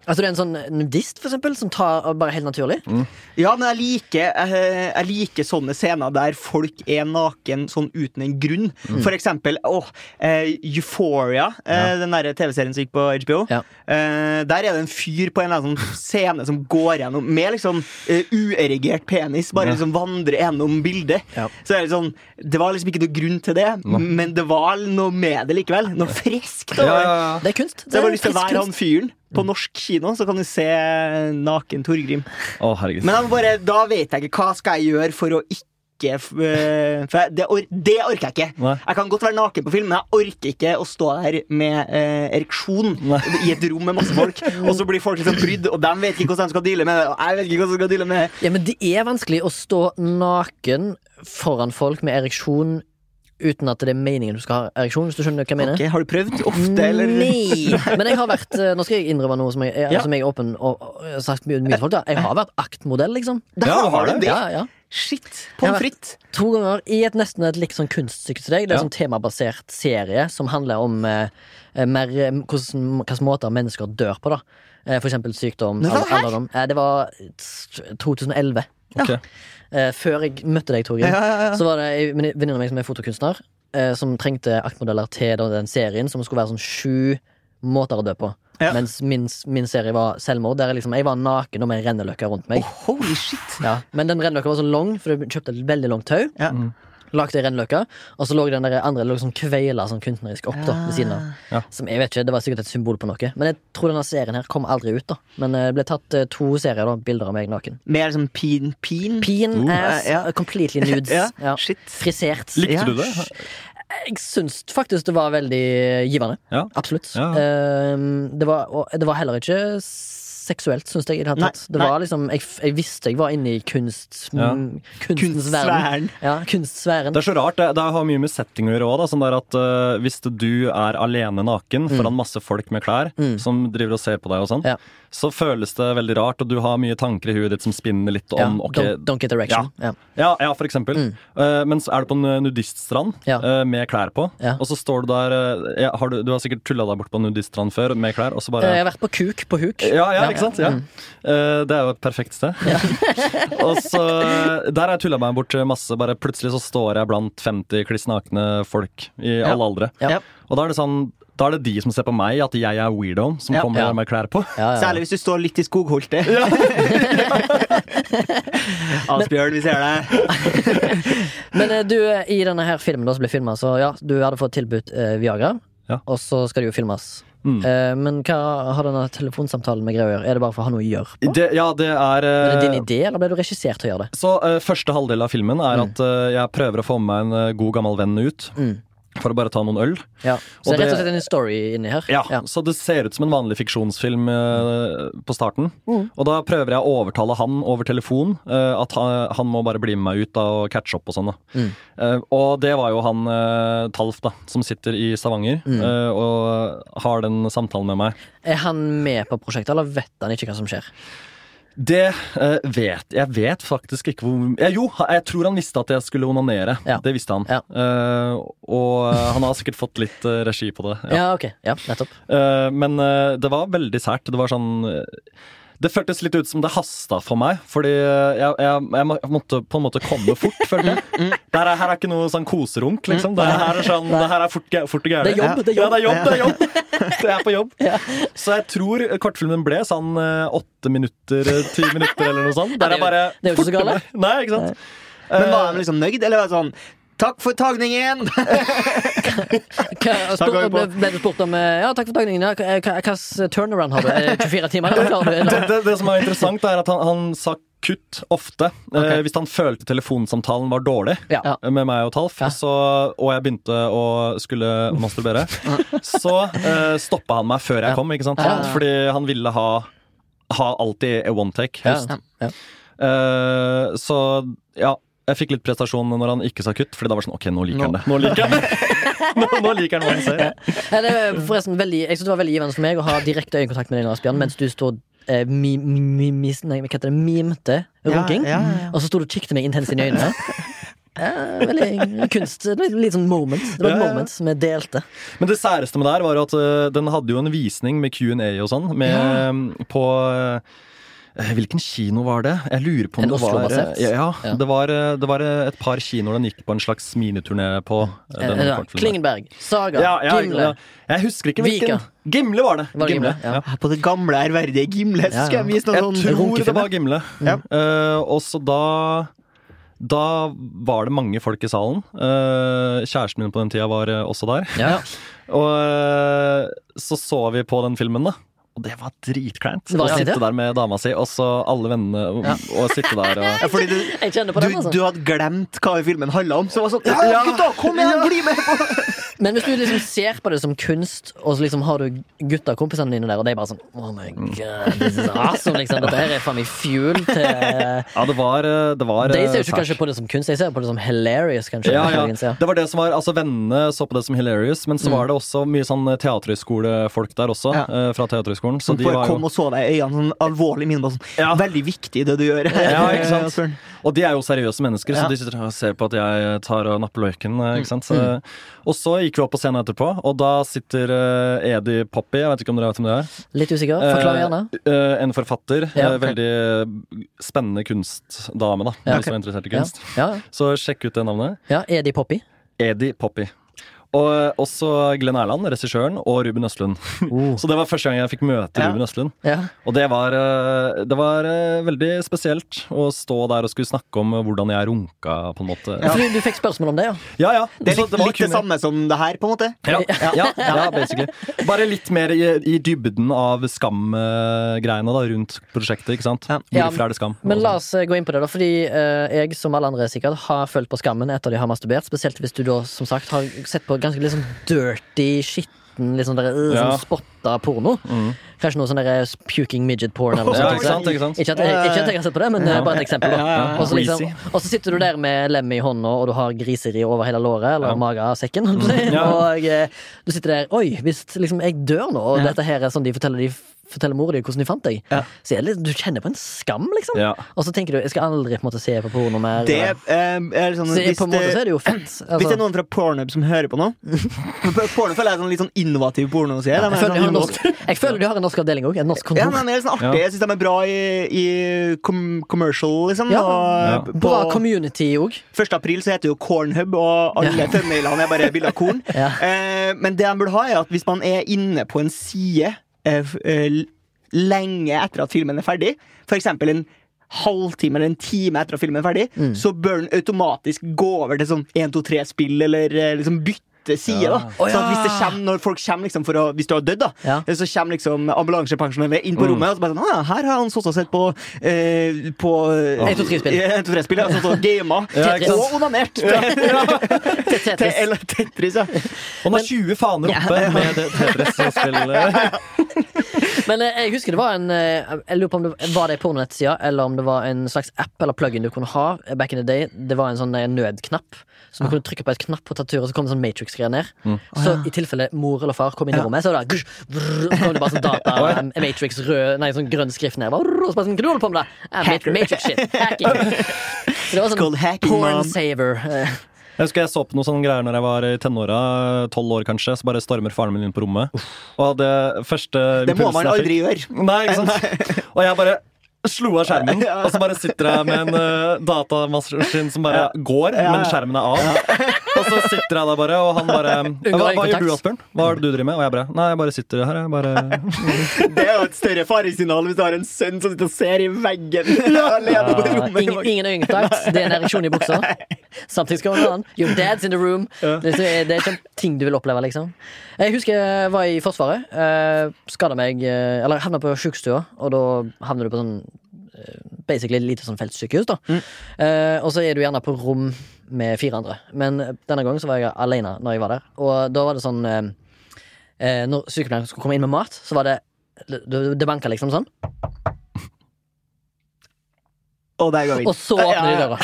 S2: Altså, det er en sånn nudist, for eksempel, som tar bare helt naturlig.
S1: Mm. Ja, men jeg liker, jeg, jeg liker sånne scener der folk er naken sånn uten en grunn.
S2: Mm.
S1: For eksempel åh, eh, Euphoria, eh, den der TV-serien som gikk på HBO.
S2: Ja.
S1: Eh, der er det en fyr på en eller annen sånn scene som går gjennom med liksom eh, uerigert penis, bare liksom vandrer gjennom bildet.
S2: Ja.
S1: Så er det sånn Det var liksom ikke noe grunn til det, men det var noe med det likevel. Noe friskt. over det.
S2: Det er kunst.
S1: Så jeg har lyst til å
S2: frisk
S1: være
S2: kunst.
S1: han fyren på norsk kino, så kan du se naken Torgrim.
S3: Å, herregud.
S1: Men jeg må bare, da vet jeg ikke hva skal jeg gjøre for å ikke f- øh, For jeg, det, or, det orker jeg ikke.
S3: Nei.
S1: Jeg kan godt være naken på film, men jeg orker ikke å stå der med eh, ereksjon
S3: Nei.
S1: i et rom med masse folk, og så blir folk liksom brydd, og de vet ikke hvordan de skal deale med det. Og jeg vet ikke hvordan de skal deale med det.
S2: Ja, men det er vanskelig å stå naken foran folk med ereksjon uten at det er meningen du skal ha ereksjon, hvis du skjønner hva jeg mener.
S1: Ok, har du prøvd ofte, eller?
S2: Nei! Men jeg har vært eh, Nå skal jeg innrømme noe som jeg, eh,
S1: Ja.
S2: som jeg er åpen og, og jeg har sagt mye mye til folk. Da. Jeg har vært aktmodell, liksom.
S1: Der
S3: Ja, har
S1: har
S3: du
S1: du det!
S2: Ja, ja.
S1: Shit. Pommes frites.
S2: To ganger i et nesten et litt sånn kunststykke til deg. Det er
S3: Ja.
S2: en sånn temabasert serie som handler om eh, eh, mer, eh, hvordan, hvilke måter mennesker dør på. da Eh, For eksempel sykdom.
S1: Men hva
S2: al-
S1: her?
S2: alderdom. Eh, Det var t- 2011.
S3: Ok.
S2: Eh, Før jeg møtte deg, Torgrim,
S1: Ja, ja, ja.
S2: så var det ei veni- venninne av meg som er fotokunstner, eh, som trengte aktmodeller til da den serien, som skulle være sånn sju måter å dø på.
S1: Ja.
S2: Mens min, min serie var selvmord, der jeg liksom, jeg var naken og med en renneløkke rundt meg.
S1: Holy shit.
S2: Ja. Men den renneløkka var så lang, for jeg kjøpte et veldig langt tau.
S1: Ja.
S2: Lagde ei rennløkke, og så lå den der andre lå sånn kveila sånn kunstnerisk opp da, ved siden av.
S3: Ja.
S2: Som jeg vet ikke, Det var sikkert et symbol på noe. Men jeg tror denne serien her kom aldri ut. da Men det ble tatt eh, to serier, da bilder av meg naken.
S1: Mer sånn pin, pin.
S2: Peen,
S3: Uh.
S2: ass,
S1: Ja, ja.
S2: completely nudes.
S1: Ja,
S2: ja.
S1: shit.
S2: Frisert.
S3: Likte du
S1: Ja.
S3: det?
S2: Jeg syns faktisk det var veldig givende.
S3: Ja.
S2: Absolutt.
S3: Ja.
S2: Ehm, det, var, og det var heller ikke seksuelt, syns jeg. i Det, hele
S1: Nei,
S2: tatt. det
S1: nei.
S2: var liksom, jeg, f- jeg visste jeg var inne i kunst,
S3: Ja.
S2: m, kunstens verden.
S1: Kunstsfæren.
S2: Ja, kunstsfæren.
S3: Det er så rart. Det, det har mye med setting å gjøre òg. Sånn der at eh, hvis du er alene naken foran masse folk med klær som driver og ser på deg og sånn,
S2: Mm. Ja.
S3: så føles det veldig rart, og du har mye tanker i huet ditt som spinner litt
S2: Ja,
S3: om ok,
S2: don't, don't get erection. Ja.
S3: ja, ja, for eksempel. Eh, men så er du på en eh, nudiststrand
S2: Ja.
S3: eh, med klær på,
S2: Ja.
S3: og så står du der eh, ja, har du, du har sikkert tulla deg bort på en nudiststrand før med klær, og så
S2: Eh,
S3: bare
S2: Jeg har vært på kuk på huk.
S3: ja, ja, ikke sant?
S2: Mm.
S3: Ja. Eh, det er jo et perfekt sted. og så Der har jeg tulla meg bort masse. Bare plutselig så står jeg blant 50 kliss nakne folk i alle aldre.
S2: Ja.
S1: Ja.
S3: Og da er det sånn Da er det de som ser på meg, at jeg er weirdoen som
S1: Ja.
S3: kommer
S2: Ja.
S3: med klær på.
S2: Ja, ja.
S1: Særlig hvis du står litt i skogholtet. Asbjørn, vi ser deg.
S2: Men eh, du, eh, i denne her filmen da, som ble filma, så ja, du hadde fått tilbudt eh, Viagra.
S3: Ja.
S2: Og så skal det jo filmes.
S3: Mm.
S2: Eh, men hva har denne telefonsamtalen med Greia å gjøre? Er det bare for å ha noe å gjøre? på?
S3: Det, ja, det er
S2: Er det
S3: eh,
S2: din idé, eller ble du regissert til å gjøre det?
S3: Så eh, første halvdel av filmen er at eh, jeg prøver å få med meg en eh, god gammel venn ut.
S2: Mm.
S3: For å bare ta noen øl.
S2: Ja. Så
S3: Og
S2: det er rett og
S3: det-
S2: slett en story inni her?
S3: Ja, Så det ser ut som en vanlig fiksjonsfilm eh, på starten.
S2: Mm.
S3: Og da prøver jeg å overtale han over telefon eh, at han, han må bare bli med meg ut da, og catche opp og sånn. da.
S2: Mm.
S3: Eh, og det var jo han eh, Talf, da, som sitter i Stavanger
S2: Mm.
S3: eh, og har den samtalen med meg.
S2: Er han med på prosjektet, eller vet han ikke hva som skjer?
S3: Det eh, vet Jeg vet faktisk ikke hvor ja, Jo, jeg tror han visste at jeg skulle onanere.
S2: Ja.
S3: Det visste han.
S2: Ja.
S3: Eh, og han har sikkert fått litt eh, regi på det.
S2: Ja, ok. Ja, nettopp.
S3: Eh, men eh, det var veldig sært. Det var sånn eh, Det føltes litt ut som det hasta for meg, fordi eh, jeg, jeg, jeg må- jeg måtte på en måte komme fort, følte jeg.
S2: Mm,
S3: Det her, er- her er ikke noe sånn koserunk, liksom. Det her er, sånn, det her er fort, ge- fort og gærent.
S2: Det er jobb, det er
S3: Ja,
S2: jobb.
S3: det er jobb, det er jobb. Det er på jobb. Så jeg tror kortfilmen ble sånn eh, åtte minutter, eh, ti minutter eller noe sånt. Der
S2: det er
S3: jeg bare
S2: jo- det er jo ikke så
S3: forte
S2: galt.
S3: meg. Nei, ikke sant.
S1: Men var han liksom nøyd, eller var det sånn Takk for tagningen!
S2: Hva, spør,
S1: går vi
S2: ble,
S1: på.
S2: ble du spurt om eh, Ja, takk for tagningen. ja, hva- hva- Hva slags turnaround har du? Er det 24 timer? Eller klarer du
S3: det,
S2: eller?
S3: det, det som er interessant, er at han, han sa kutt ofte. Eh,
S2: Ok.
S3: hvis han følte telefonsamtalen var dårlig
S2: Ja. ja.
S3: Eh, med meg og Talf, så, og jeg begynte å skulle masturbere, så eh, stoppa han meg før jeg kom, ikke sant?
S2: Ja, ja, ja.
S3: Fordi han ville ha, ha alltid a one take,
S2: Ja,
S3: helst.
S2: ja.
S3: Eh, så ja. Jeg fikk litt prestasjon når han ikke sa kutt, Fordi da var det sånn OK, nå liker han det. Nå liker han det. nå, nå liker han hva han ser.
S2: Nei, det er forresten veldig, jeg synes det var veldig givende for meg å ha direkte øyekontakt med deg, Asbjørn, mens du stod eh, mi, mi, mi, nei, hva heter det, mimte runking.
S1: Ja, ja, ja.
S2: Og så stod du og kikket meg intenst inn i øynene. Eh, veldig kunst. Litt, litt sånn moment. Det var et
S3: Ja, ja, ja.
S2: moment som jeg delte.
S3: Men det særeste med det her var jo at øh, den hadde jo en visning med Q&A og sånn med, øh, på øh, Hvilken kino var det? Jeg lurer på om
S2: En
S3: det var eh,
S2: Oslo-basert?
S3: ja, ja,
S2: Ja.
S3: Det, var, øh, det var øh, et par kinoer den gikk på en slags miniturné på. øh,
S2: Eh,
S3: denne
S2: ja,
S3: kortfilmen.
S2: Klingenberg, Saga,
S3: Ja, ja,
S2: Gimle.
S3: ja. Jeg husker ikke hvilken.
S2: Vika.
S3: Gimle var det.
S2: Var det Gimle? Ja.
S1: På det gamle, ærverdige Gimle så skal jeg vise
S3: Jeg
S1: noen sånn
S3: tror det
S1: runkefilm.
S3: var Gimle.
S1: Ja.
S3: Eh, og så da da var det mange folk i salen. Eh, kjæresten min på den tida var eh, også der.
S2: Ja.
S3: Og øh, så så vi på den filmen, da. Og det var dritkleint.
S2: Det var
S3: Å
S2: det,
S3: sitte
S2: det?
S3: der med dama si, og så alle vennene, og, og sitte der og
S1: Ja, fordi du,
S2: Jeg kjenner på
S1: du,
S2: den, altså.
S1: du hadde glemt hva filmen handla om. Så det var sånn Ja, gutta, kom igjen, bli med! på
S2: Men hvis du liksom ser på det som kunst, og så liksom har du gutta og kompisene dine der, og de er bare sånn Oh my
S3: Mm.
S2: god, this is awesome, liksom. Dette her er faen meg fuel til
S3: Ja, det var, øh, det var
S2: De ser jo
S3: øh,
S2: ikke
S3: sært.
S2: kanskje på det som kunst, de ser på det som hilarious, kanskje.
S3: ja,
S2: muligens, ja.
S3: ja. Det var det som var, altså Vennene så på det som hilarious, men så var det også mye sånn teaterhøyskolefolk der også.
S1: Ja.
S3: øh, fra teaterhøyskolen. Så
S1: Som
S3: de
S1: bare
S3: var
S1: kom
S3: jo
S1: og så deg i øynene sånn alvorlig mine bare sånn,
S3: Ja.
S1: Veldig viktig det du gjør.
S3: Ja, ikke sant?
S1: Asbjørn.
S3: Og de er jo seriøse mennesker, så
S1: Ja.
S3: de sitter og ser på at jeg tar og napper løken. øh, Ikke sant? Så, og så gikk vi opp på scenen etterpå, og da sitter øh, Edi Poppy, jeg vet ikke om dere vet hvem det er.
S2: Litt usikker. Forklar
S3: Eh,
S2: gjerne.
S3: eh, en forfatter.
S2: Ja,
S3: eh,
S2: ok.
S3: Veldig spennende kunstdame, da.
S2: Ja,
S3: Hvis du er interessert i
S2: Ja.
S3: kunst.
S2: Ja.
S3: Så sjekk ut det navnet.
S2: ja, er de poppy?
S3: Edi Poppy. Og eh, også Glenn Erland, regissøren, og Ruben Østlund.
S2: Oh.
S3: Så det var første gang jeg fikk møte
S1: Ja.
S3: Ruben Østlund.
S2: Ja.
S3: Og det var, eh, det var eh, veldig spesielt å stå der og skulle snakke om eh, hvordan jeg runka, på en måte.
S2: For du, du fikk spørsmål om det, ja?
S3: Ja, ja.
S1: Det er
S3: Så
S1: litt,
S3: var
S1: litt det
S3: kun-
S1: samme som det her, på en måte.
S3: Ja, ja, ja, basically. Bare litt mer i, i dybden av skamgreiene da, rundt prosjektet. ikke sant?
S2: Ja.
S3: Hvorfor er det skam?
S2: Men
S3: Og sånn.
S2: la oss eh, gå inn på det, da. Fordi eh, jeg, som alle andre sikkert, har følt på skammen etter de har masturbert. Spesielt hvis du da, som sagt, har sett på ganske litt sånn dirty, skitne nesten litt sånn der, øh,
S3: Ja. Mm.
S2: sånn spotta porno. Kanskje noe sånn der puking midget porn eller noe
S3: Ja,
S2: sånt.
S3: ikke sant, ikke sant?
S2: Ikke at, jeg, ikke at jeg har sett på det, men det er bare et eksempel.
S1: Ja, ja,
S2: da.
S1: ja.
S2: Og så liksom,
S3: Greasy.
S2: og så sitter du der med lem i hånda, og du har griseri over hele låret, eller
S3: Ja.
S2: magesekken, holdt jeg på å si.
S3: Ja.
S2: og eh, du sitter der Oi, hvis liksom, jeg dør nå, og dette her er sånn de forteller, de forteller mor di hvordan de fant deg,
S1: Ja.
S2: så er det, litt- du kjenner på en skam, liksom.
S3: Ja.
S2: Og så tenker du jeg skal aldri på en måte se på porno mer.
S1: Det
S2: eller-
S1: eh, er sånn
S2: så
S1: hvis
S2: på en måte
S1: det-
S2: så er det jo fett. Altså,
S1: Hvis det er noen fra Pornhub som hører på nå Pornhub er sånn litt sånn innovativ pornoside.
S2: jeg, føler de har
S1: de, er
S2: en
S1: sånn
S2: norsk, jeg føler de har en norsk avdeling òg. En norsk
S1: ja,
S2: kontor.
S1: men de er sånn artig.
S3: Ja.
S1: Jeg syns de er bra i, i com commercial, liksom.
S2: Ja.
S1: Og
S3: Ja.
S2: Bra
S1: på
S2: community òg.
S1: 1. april så heter det jo Cornhub, og alle
S2: Ja.
S1: thumbnailene er bare bilder av korn.
S2: Ja.
S1: Eh, men det de burde ha, er at hvis man er inne på en side eh, f- eh, l- lenge etter at filmen er ferdig, f.eks. en halvtime eller en time etter at filmen er ferdig,
S2: Mm.
S1: så bør den automatisk gå over til sånn 1, 2, 3-spill, eller eh, liksom bytte side. da
S2: Å,
S1: Så at
S2: ja.
S1: hvis det kommer, når folk kommer liksom for å, hvis du har dødd, da,
S2: Ja.
S1: så kommer liksom ambulansepensjonelle inn på
S2: Mm.
S1: rommet og så bare sånn, «Å ja, her har han satt og sett på, eh, på
S2: 1, 2, 3 spill.
S1: Ja, 1, 2, 3 spill, ja, sånn som gama.
S3: Ja, ikke sant?
S1: og onanert! Ja. Te-
S2: Tetris.
S1: Eller Tetris, ja.
S3: Han har 20 faner oppe med det Tetris-spillet.
S2: Men eh, jeg husker det var en eh, Jeg lurer på om det var det en pornonettside, eller om det var en slags app eller plugin du kunne ha. eh, Back in the day Det var en sånn eh, nødknapp. Så du kunne trykke på et knapp på taturet, så kom det sånn Matrix-greier ned. Så i tilfelle mor eller far kom inn i
S1: Mm. Ja.
S2: rommet, så var det, gush, vrr, så kom det bare sånn data em, Matrix rød, nei, sånn grønn skrift ned. Bare, vrr, og så bare sånn, Hva du holder på med, da? Eh,
S1: Hacker.
S2: Matrix shit. Hacking. Så det var
S1: It's called
S2: sånn
S1: hacking, mom.
S2: porn saver. eh.
S3: Jeg husker jeg så på noen sånne greier når jeg var i tenåra, tolv år kanskje, så bare stormer faren min inn på rommet. Og det første
S1: Det må
S3: impulsen
S1: man
S3: jeg fikk-
S1: aldri gjøre.
S3: Nei, ikke sant? Og jeg bare slo av skjermen, og så bare sitter jeg med en eh, datamaskin som bare går, men skjermen er av. Og så sitter jeg der bare, og han bare Hva, hva gjør du, Asbjørn? Hva er det du driver med? Og jeg bare Nei, jeg bare sitter her, jeg. Bare
S1: Det er jo et større faresignal hvis du har en sønn som sitter og ser i veggen alene på rommet.
S2: Ah, Ingen, ingen er yngtakt, det er en ereksjon i buksa. Samtidig skal man ha den. Your dad's in the room. Det er, det er ikke en ting du vil oppleve, liksom. Jeg husker jeg var i Forsvaret. Eh, Skada meg eh, Eller havna på sjukestua, og da havner du på sånn eh, Basically lite sånn feltsykehus, da.
S1: Mm.
S2: Eh, og så er du gjerne på rom med fire andre. Men denne gangen så var jeg alene når jeg var der, og da var det sånn eh, eh, Når sykepleieren skulle komme inn med mat, så var det Det, det banka liksom sånn.
S1: Og der går vi
S2: Og så åpner de
S1: Ja, ja.
S2: døra.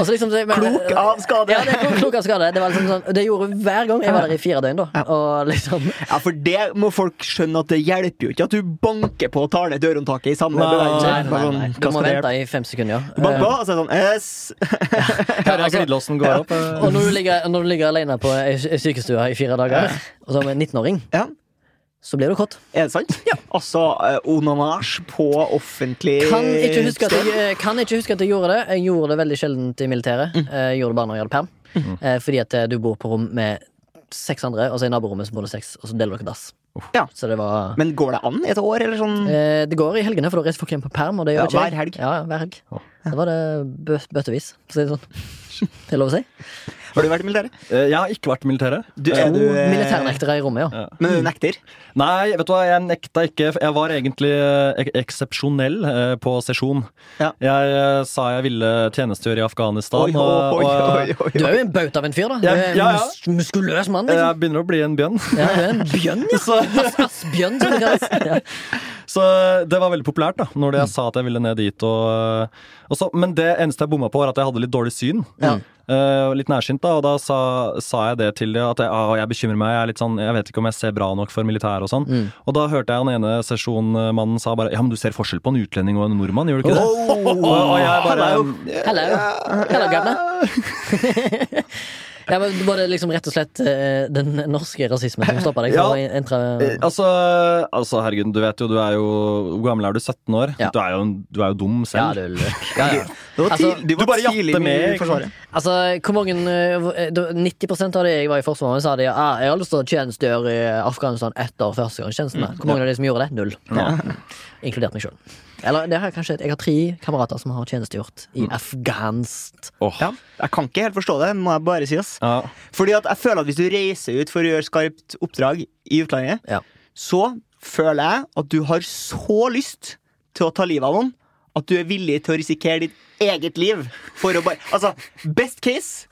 S2: Og så liksom, så- men-
S1: Klok av skade.
S2: Ja, det er klok- klok av skade. Det, var liksom sånn, det gjorde hver gang jeg var der i fire døgn, da. Og liksom
S1: Ja, for det må folk skjønne at det hjelper jo ikke at du banker på og tar ned dørhåndtaket i samme
S3: Nei,
S1: bevegelse.
S3: nei,
S1: Bare sånn,
S2: Du
S1: hva
S2: må
S1: skal det hjelpe?
S2: vente i fem sekunder, ja.
S1: Bank på,
S2: Eh,
S1: og så er det sånn yes.
S3: Hører jeg glidelåsen går opp. eh.
S2: Og når du ligger, når du ligger alene på ei sy- ei sykestue i fire dager, og så med en 19-åring,
S1: Ja.
S2: så blir du kåt.
S1: Er det sant? Altså, eh, onanasj på offentlig
S2: Kan ikke, huske at jeg, eh, kan ikke huske at jeg gjorde det. Jeg gjorde det veldig sjeldent i militæret. Jeg gjorde det bare når jeg hadde perm. Eh, Fordi at eh, du bor på rom med seks andre, og så i naborommet så bor det seks, og så deler dere dass.
S1: Ja.
S2: Så det var
S1: Men går det an i et år, eller sånn?
S2: Eh, Det går i helgene, for da reiser folk hjem på perm. Og det gjør
S1: Ja,
S2: ikke jeg.
S1: hver helg.
S2: Ja, ja, hver helg. Så var det bø bøttevis, for å si det sånn. Det er lov å si.
S1: Har du vært i militæret?
S3: Eh, Jeg har ikke vært i militæret.
S1: Du,
S2: To
S1: er du, eh,
S2: Oh, militærnektere i rommet, ja.
S1: Men du nekter?
S3: Nei, vet du hva, jeg nekta ikke. Jeg var egentlig eh, ek eksepsjonell eh, på sesjon.
S1: Ja.
S3: Jeg eh, sa jeg ville tjenestegjøre i Afghanistan.
S1: Oi, oi,
S3: og, eh,
S1: oi, oi,
S2: Du
S1: oi.
S2: er jo en bauta av en fyr, da. Du
S3: Ja,
S2: er en
S3: ja, ja.
S2: mus muskuløs mann, liksom.
S3: jeg begynner å bli en bjønn.
S2: Ja, du er en bjønn, ja.
S3: Så,
S2: Ass- Asbjørn, som det kalles. Ja.
S3: så det var veldig populært da Når
S2: Mm.
S3: det jeg sa at jeg ville ned dit. Og, eh, og så, men det eneste jeg bomma på, var at jeg hadde litt dårlig syn.
S2: Ja.
S3: Eh, litt nærsynt, da. Og da sa, sa jeg det til dem. At jeg, ah, jeg bekymrer meg. Jeg, er litt sånn, jeg vet ikke om jeg ser bra nok for militæret og sånn.
S2: Mm.
S3: Og da hørte jeg han ene sesjonmannen sa bare Ja, men du ser forskjell på en utlending og en nordmann, gjør du ikke det? Og, og jeg bare
S2: Hello. Hello, gamle. Ja, men var det liksom rett og slett eh, den norske rasismen som stoppa deg?
S3: Ja.
S2: For å entra...
S3: Eh, Altså, altså, herregud, du vet jo, du er jo Hvor gammel er du? 17 år?
S2: Ja.
S3: Du, er jo, en- du er jo dum
S2: Ja, du
S3: selv.
S2: løk.
S3: Ja, ja.
S1: Det var
S2: Altså,
S1: tidlig- du
S3: du
S1: var
S3: bare jatter
S1: tidlig med
S3: med,
S1: i Forsvaret.
S2: Altså, hvor mange eh, hvor- eh, da- 90 av de jeg var i Forsvaret med, sa de ah, jeg har lyst til å tjenestegjøre i Afghanistan etter førstegangstjenesten.
S1: Mm.
S2: Hvor mange av de som gjorde det? Null. Inkludert meg sjøl. Eller det har jeg kanskje Jeg har tre kamerater som har tjenestegjort i
S1: Mm.
S2: afghansk.
S3: Åh.
S1: Ja, jeg kan ikke helt forstå det, må jeg bare si. ass.
S3: Ja.
S1: Fordi at jeg føler at Hvis du reiser ut for å gjøre skarpt oppdrag i utlandet,
S2: Ja.
S1: så føler jeg at du har så lyst til å ta livet av noen at du er villig til å risikere ditt eget liv for å bare Altså, best case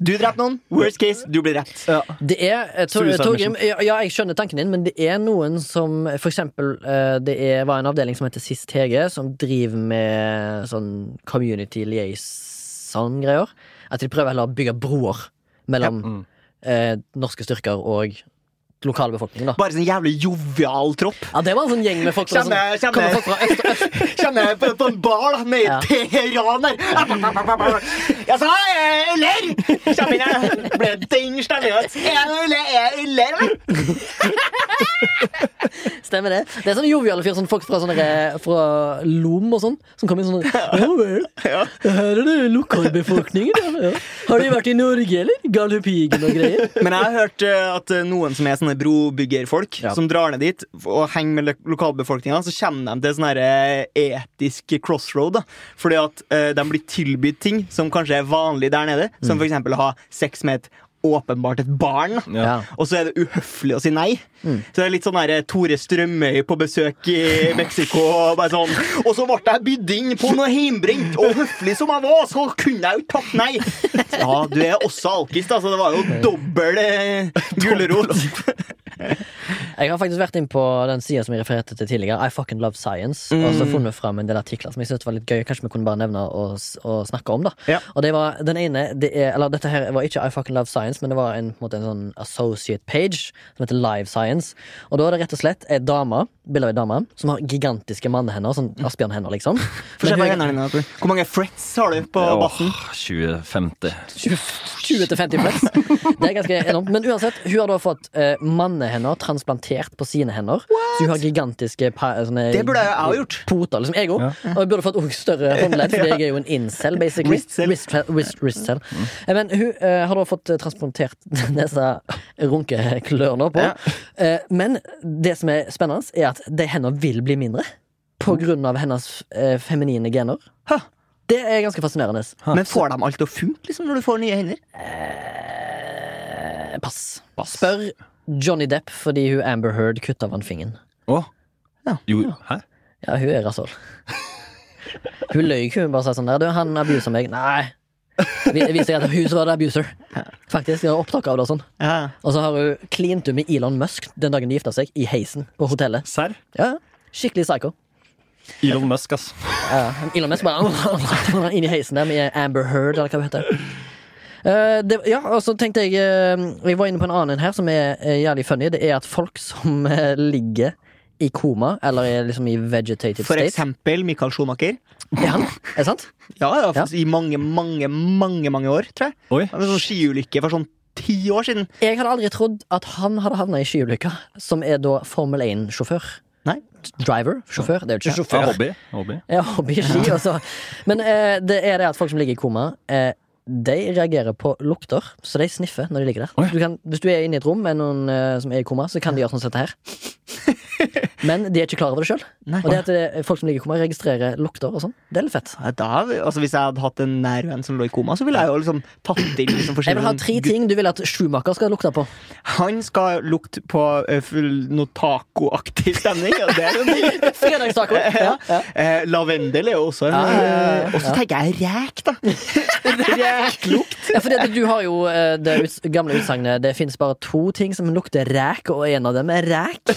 S1: Du drepte noen. Worst case, du blir drept.
S2: Det er, eh, Tor-
S3: Suicide
S2: Torgrim, ja, ja, jeg skjønner tanken din, men det er noen som For eksempel, eh, det er, var en avdeling som heter Sist Hege, som driver med sånn community liaison-greier. At de prøver heller å bygge broer mellom
S3: Mm.
S2: eh, norske styrker og lokalbefolkningen, da.
S1: Bare sånn jævlig jovial tropp.
S2: Ja, det var en sånn gjeng med folk, som,
S1: Kjenner- kjenner.
S2: kommer folk fra øst og øst.
S1: Kjenner jeg på, på en bar da med
S2: Ja.
S1: Teheran her. Jeg sa eh, øler! Kjem inn her. Ble ding stemmegjøt. En øler, en øler, vel?
S2: Stemmer det. Det er sånn joviale fyr, sånn folk fra, sånne, eh, fra Lom og sånn, som kommer inn sånn Ja vel, her er det lokalbefolkningen, ja. ja. Har de vært i Norge, eller? Galdhøpigen og greier.
S1: Men jeg har hørt eh, at eh, noen som er sånne brobyggerfolk,
S2: Ja.
S1: som drar ned dit og henger med lo- lokalbefolkninga, så kommer de til sånn her, eh, etisk crossroad. Da. Fordi at eh, de blir tilbudt ting som kanskje er vanlig der nede, som for eksempel å ha sex med et åpenbart et barn. da.
S2: Ja.
S1: Og så er det uhøflig å si nei. Så det er litt sånn der, eh, Tore Strømøy på besøk i Mexico. Og bare sånn Og så ble jeg bydd inn på noe heimbrent, og høflig som jeg var, så kunne jeg jo ikke tatt nei. Ja, du er også alkis, da, så det var jo dobbel eh, gulrot.
S2: Jeg har faktisk vært inn på den sida som jeg refererte til tidligere, I fucking love science, og så funnet fram en del artikler som jeg syntes var litt gøy. Kanskje vi kunne bare nevne og, s- og snakke om, da.
S1: Ja.
S2: Og det var den ene det er, Eller dette her var ikke I fucking love science, men det var en, på en, måte, en sånn associate page som heter Live Science. Og da er det rett og slett ei dame, bilde av ei dame, som har gigantiske mannehender, sånn Asbjørn-hender, liksom.
S1: Få se
S2: Men
S1: på
S2: hun-
S1: hendene dine. Tor. eh, Hvor mange frets har du på
S3: Åh,
S1: bassen?
S3: 2050.
S2: 20-50 flats. Det er ganske enormt. Men uansett, hun har da fått eh, mannehender transplantert på sine hender. Så hun har gigantiske pa- sånne,
S1: Det burde jeg jo ha gjort.
S2: poter, liksom jeg òg. Og jeg burde fått også større håndledd, for jeg er jo en incel, basically.
S1: Wristcell.
S2: Wrist, tra- wrist, wristcell. Eh, Men hun eh, har da fått eh, transplantert disse runkeklørne på.
S1: Ja.
S2: Eh, men det som er spennende, er at de hendene vil bli mindre. På grunn av hennes eh, feminine gener.
S1: Hæ?
S2: Det er ganske fascinerende.
S1: Men får de alt til å funke liksom, når du får nye hender?
S2: Eh, Pass. Spør Johnny Depp fordi hun Amber Heard kutta vannfingen.
S3: Åh.
S1: Ja.
S3: Jo, hæ?
S2: Ja, hun er rasshøl. Hun løy ikke, hun bare sa sånn der. Du, han abuser meg. Nei. Det viste seg at hun som var det abuser. Faktisk. Jeg har opptak av det og sånn.
S1: Ja.
S2: Og så har hun klint hun med Elon Musk den dagen de gifta seg, i heisen på hotellet.
S3: Serr?
S2: Ja, Skikkelig psycho.
S3: Elon Musk, ass.
S2: Ja, Elon Musk bare inn i heisen der med Amber Heard, eller hva det heter. Eh, det, ja, og så tenkte jeg eh, Jeg var inne på en annen en her som er eh, jævlig funny. Det er at folk som eh, ligger i koma, eller er liksom i vegetative
S1: For
S2: state
S1: eksempel Michael Schumacher.
S2: Er han? Er det sant?
S1: Ja, ja, faktisk I mange, mange, mange mange år, tror jeg.
S3: Oi.
S1: Han var sånn skiulykke for sånn ti år siden.
S2: Jeg hadde aldri trodd at han hadde havna i skyulykka, som er da Formel 1-sjåfør.
S1: Nei.
S2: Driver? Sjåfør? Det er jo ikke
S3: Ja,
S2: sjåfør.
S3: hobby. hobby.
S2: Ja, hobby ski, altså. Men eh, det er det at folk som ligger i koma, eh, de reagerer på lukter, så de sniffer når de ligger
S3: Oi.
S2: der. Du kan, hvis du er inne i et rom med noen eh, som er i koma, så kan de gjøre sånn som dette her. Men de er ikke klar over det sjøl.
S1: Nei.
S2: Og det at det, folk som ligger i koma, registrerer lukter og sånn, det er litt fett.
S1: Ja, Da, altså Hvis jeg hadde hatt en nær venn som lå i koma, så ville jeg jo liksom tatt
S2: Jeg
S1: inn liksom
S2: vil ha
S1: forskjellige
S2: tre ting du vil at Schumacher skal lukte på.
S1: Han skal lukte på eh, full- noe tacoaktig stemning. Ja, det er jo mye.
S2: Fredagstaco. Ja, ja.
S1: Eh, lavendel er jo også en
S2: Ja, ja, ja, ja.
S1: eh, Og så tenker jeg rek, da. Reklukt.
S2: Ja, fordi at du har jo eh, det uts gamle utsagnet 'det fins bare to ting som lukter ræk', og en av dem er ræk.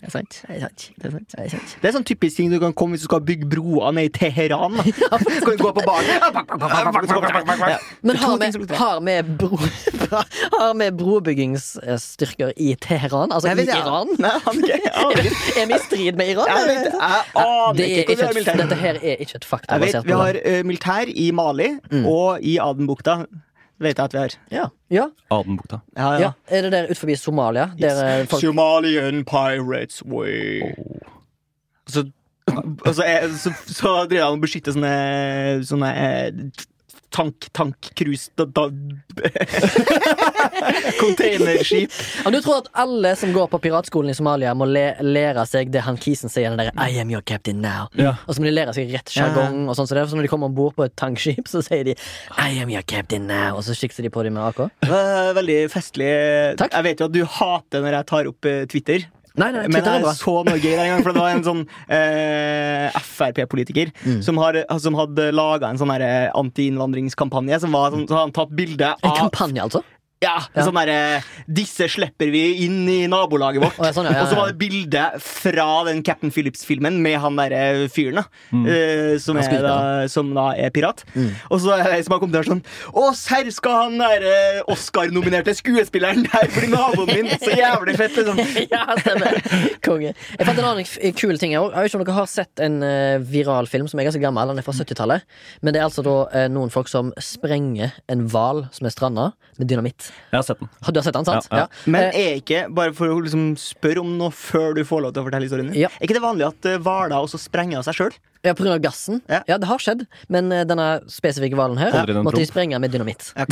S1: Det er sant. Det er sant. Det er sant.
S2: Det er sant.
S1: Det er sånn typisk ting du kan komme hvis du skal bygge broer ned i Teheran. Da. Kan du gå på baren ja.
S2: Men har
S1: To ting
S2: vi,
S1: som lukter.
S2: har vi, bro, har vi brobyggingsstyrker i Teheran? Altså
S1: Jeg vet
S2: i
S1: ikke, ja.
S2: Iran?
S1: Nei, jeg aner ikke. Jeg aner ikke.
S2: Er vi i strid med Iran?
S1: Jeg vet- jeg aner
S2: Det er
S1: ikke
S2: ikke
S1: hvordan
S2: et,
S1: det er
S2: dette
S1: militært.
S2: her er ikke et
S1: Jeg vet,
S2: faktabasert
S1: Vi
S2: program.
S1: har eh, militær i Mali
S2: Mm.
S1: og i Adenbukta. Vet jeg at vi har.
S2: Ja. Ja.
S3: Adenbukta.
S1: Ja,
S2: ja, Er det der utenfor Somalia? Der eh, folk
S1: Somalian pirates way. Og Oh. så, og så, er, så, så driver han og beskytter sånne, sånne eh, tank, tank, cruise da, da, Containerskip.
S2: Om du tror at alle som går på piratskolen i Somalia, må le lære seg det han Kisen sier, den der, I am your captain now.
S3: Ja.
S2: Og så må de lære seg rett sjargong. og sånn, Så derfor når de kommer om bord på et tankskip, så sier de I am your captain now, og så skikser de på dem med AK.
S1: Det var Veldig festlig.
S2: Takk.
S1: Jeg vet jo at du hater når jeg tar opp eh, Twitter.
S2: Nei, nei,
S1: Men
S2: Twitter er
S1: jeg
S2: bra.
S1: så noe gøy der en gang, for det var en sånn eh, Frp-politiker som, har- som hadde laga en sånn her antiinnvandringskampanje. Som var sånn, så hadde han tatt bilde
S2: En
S1: av
S2: kampanje, altså?
S1: ja,
S2: Ja.
S1: sånn derre 'Disse slipper vi inn i nabolaget vårt'.
S2: Å, ja, sånn, ja, ja,
S1: Og så
S2: ja.
S1: var det bilde fra den Captain Phillips-filmen med han derre fyren, da. eh, som,
S2: Han Mm.
S1: er,
S2: spilte
S1: da som da er pirat. Og så er det en som har kommet der sånn 'Å, serr, skal han derre Oscar-nominerte skuespilleren der bli naboen min?' Så jævlig fett, liksom.
S2: ja, stemmer. Konge. Jeg fant en annen f- kul ting her også. Jeg vet ikke om dere har sett en eh, viral film som er ganske gammel. Den er fra 70-tallet. Men det er altså da eh, noen folk som sprenger en hval som er stranda, med dynamitt.
S3: Jeg har sett den.
S2: Har- Du har sett den, sant?
S3: Ja, ja.
S1: Men
S2: Eh,
S1: er ikke, bare for å liksom spørre om noe før du får lov til å fortelle historien din
S2: Ja.
S1: Er ikke det vanlig at eh, hvaler også sprenger av seg sjøl?
S2: Ja, på grunn av gassen.
S1: Ja.
S2: Ja. det har skjedd. Men eh, denne spesifikke hvalen her
S3: Holder i den
S2: måtte de
S3: prompt.
S2: sprenge med dynamitt.
S1: Ja.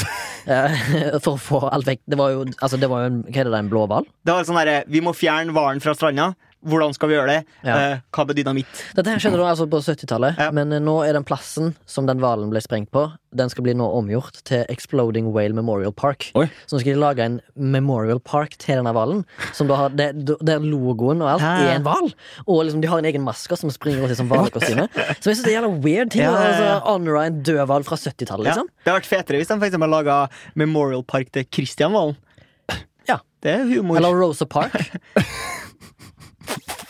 S2: Eh, For å få alt vekk. Det var jo, altså, det var jo en, hva er det, en blå hval?
S1: Det var sånn derre Vi må fjerne hvalen fra stranda. Hvordan skal vi gjøre det?
S2: Ja.
S1: Eh, hva med dynamitt?
S2: Dette her skjedde da altså på 70-tallet,
S1: Ja.
S2: men eh, nå er den plassen som den hvalen ble sprengt på, den skal bli nå omgjort til Exploding Whale Memorial Park.
S3: Oi.
S2: Så nå skal de lage en memorial park til denne hvalen. Som da har, det, der logoen og alt
S1: Hæ?
S2: er en hval. Og liksom, de har en egen masker som springer rundt i sånn hvalkostyme. Som jeg syns er jævla weird ting.
S1: Ja,
S2: Ja,
S1: ja,
S2: Altså,
S1: ja.
S2: Honora en død hval fra 70-tallet,
S1: Ja.
S2: liksom.
S1: Det hadde vært fetere hvis de for eksempel laga Memorial Park til Christian Valen.
S2: Ja.
S1: Det er humor.
S2: Eller Rosa Park.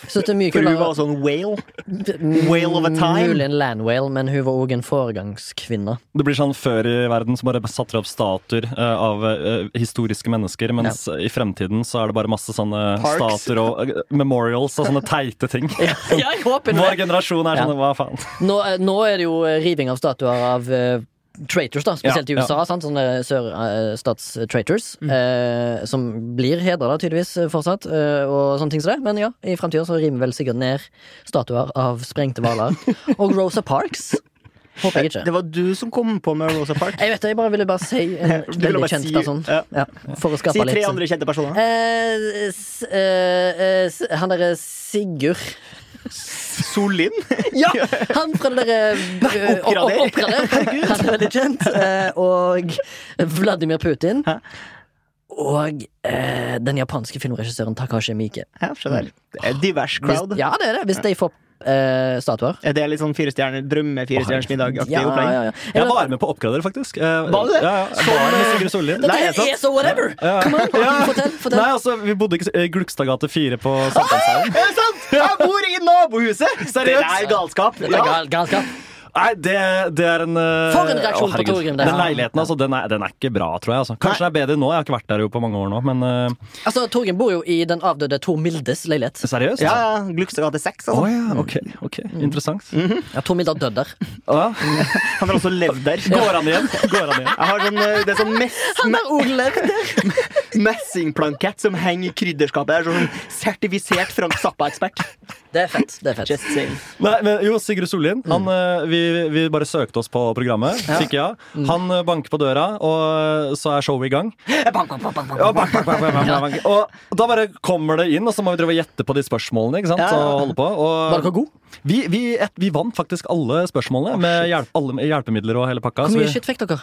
S2: Så det er mye
S1: for hun var
S2: kulere.
S1: også en whale. whale of a time.
S2: Mulig en land whale, men hun var òg en foregangskvinne.
S3: Det blir sånn før i verden så bare satte de opp statuer eh, av eh, historiske mennesker, mens i fremtiden så er det bare masse sånne
S1: Parks.
S3: statuer og eh, memorials og sånne teite ting.
S2: Ja, jeg håper det.
S3: Vår generasjon er
S2: Ja.
S3: sånn hva faen.
S2: Nå, eh, nå er det jo eh, riving av statuer av eh, traitors, da, spesielt
S3: Ja,
S2: i
S3: ja.
S2: USA. Sant? Sånne sørstatstraitors.
S1: Mm.
S2: Eh, som blir hedra, tydeligvis, eh, fortsatt. Eh, og sånne ting som det. Men ja, i framtida så rimer vel sikkert ned statuer av sprengte hvaler. og Rosa Parks. Håper jeg ikke.
S1: Det var du som kom på med Rosa Park.
S2: Jeg vet det, jeg bare ville bare si en
S1: Du ville
S2: veldig
S1: bare
S2: kjent
S1: si-
S2: person.
S1: ja.
S2: Ja, for å skape
S1: Si tre
S2: litt sånn.
S1: andre kjente personer.
S2: Eh, s, eh, eh, s, Han derre Sigurd
S1: Solin.
S2: Ja! Han fra det derre brød- opp-
S1: Oppgrader.
S2: opp- Oppgrader. Han er veldig kjent. Eh, og Vladimir Putin.
S1: Hæ?
S2: Og eh, den japanske filmregissøren Takashi Miike.
S1: Ja, se der. Det er divers
S2: Mm. Hvis,
S1: crowd.
S2: ja, det er det. Hvis de får eh, statuer.
S1: Er det litt sånn fire stjerner, drømme fire stjerners middag-aktig
S2: Ja,
S1: opplegg?
S2: ja, ja.
S3: Jeg var med på Oppgrader, faktisk. Eh,
S1: Var du det?
S3: Ja, ja. Jeg var med Sigurd Sollien.
S1: Nei,
S2: Dette
S1: jeg
S2: er så whatever! Kom an, fortell. fortell.
S3: Nei, altså, vi bodde ikke i Glukstadgate 4 på Sankthanshaugen.
S1: Er det sant? Jeg bor i nabohuset! Det er galskap.
S2: Det er
S1: Ja.
S2: gal, galskap.
S3: Nei, det, det er en eh,
S2: For en reaksjon på
S3: å, herregud.
S2: Torgrim, det.
S3: Den
S2: Ja.
S3: leiligheten altså, den, er, den er ikke bra, tror jeg. Altså. Kanskje det er bedre nå. Jeg har ikke vært der jo på mange år nå, men eh,
S2: Altså, Torgen bor jo i den avdøde Tor Mildes leilighet.
S3: seriøst?
S1: Ja, ja. Glukstadgate 6.
S3: Å
S1: Altså.
S3: ja, ok. ok, Interessant.
S2: Ja, Tor Milde har dødd der.
S3: Å, ja.
S1: Han har også levd der.
S3: Går han igjen? Går han igjen?
S1: Jeg har sånn, eh, det er sånn mess,
S2: Han har òg levd der!
S1: messingplankett som henger i krydderskapet. Jeg er sånn sertifisert Frank Zappa-ekspert.
S2: Det er fett. det er fett
S1: Just saying.
S3: Nei, men jo, Sigurd Sollien. Han, eh, vi, vi bare søkte oss på programmet. Fikk ja. Han eh, banker på døra, og eh, så er showet i gang. Og, bank, bank, bank, bank, bank, bank, bank. og da bare kommer det inn, og så må vi drive og gjette på de spørsmålene. Ikke sant?
S1: Ja, ja.
S3: Og holde på.
S2: Var dere
S3: Og
S2: god?
S3: vi, vi, et, vi vant faktisk alle spørsmålene med hjelp, alle, med hjelpemidler og hele pakka.
S2: Hvor
S3: Så
S2: mye
S3: vi,
S2: shit fikk dere?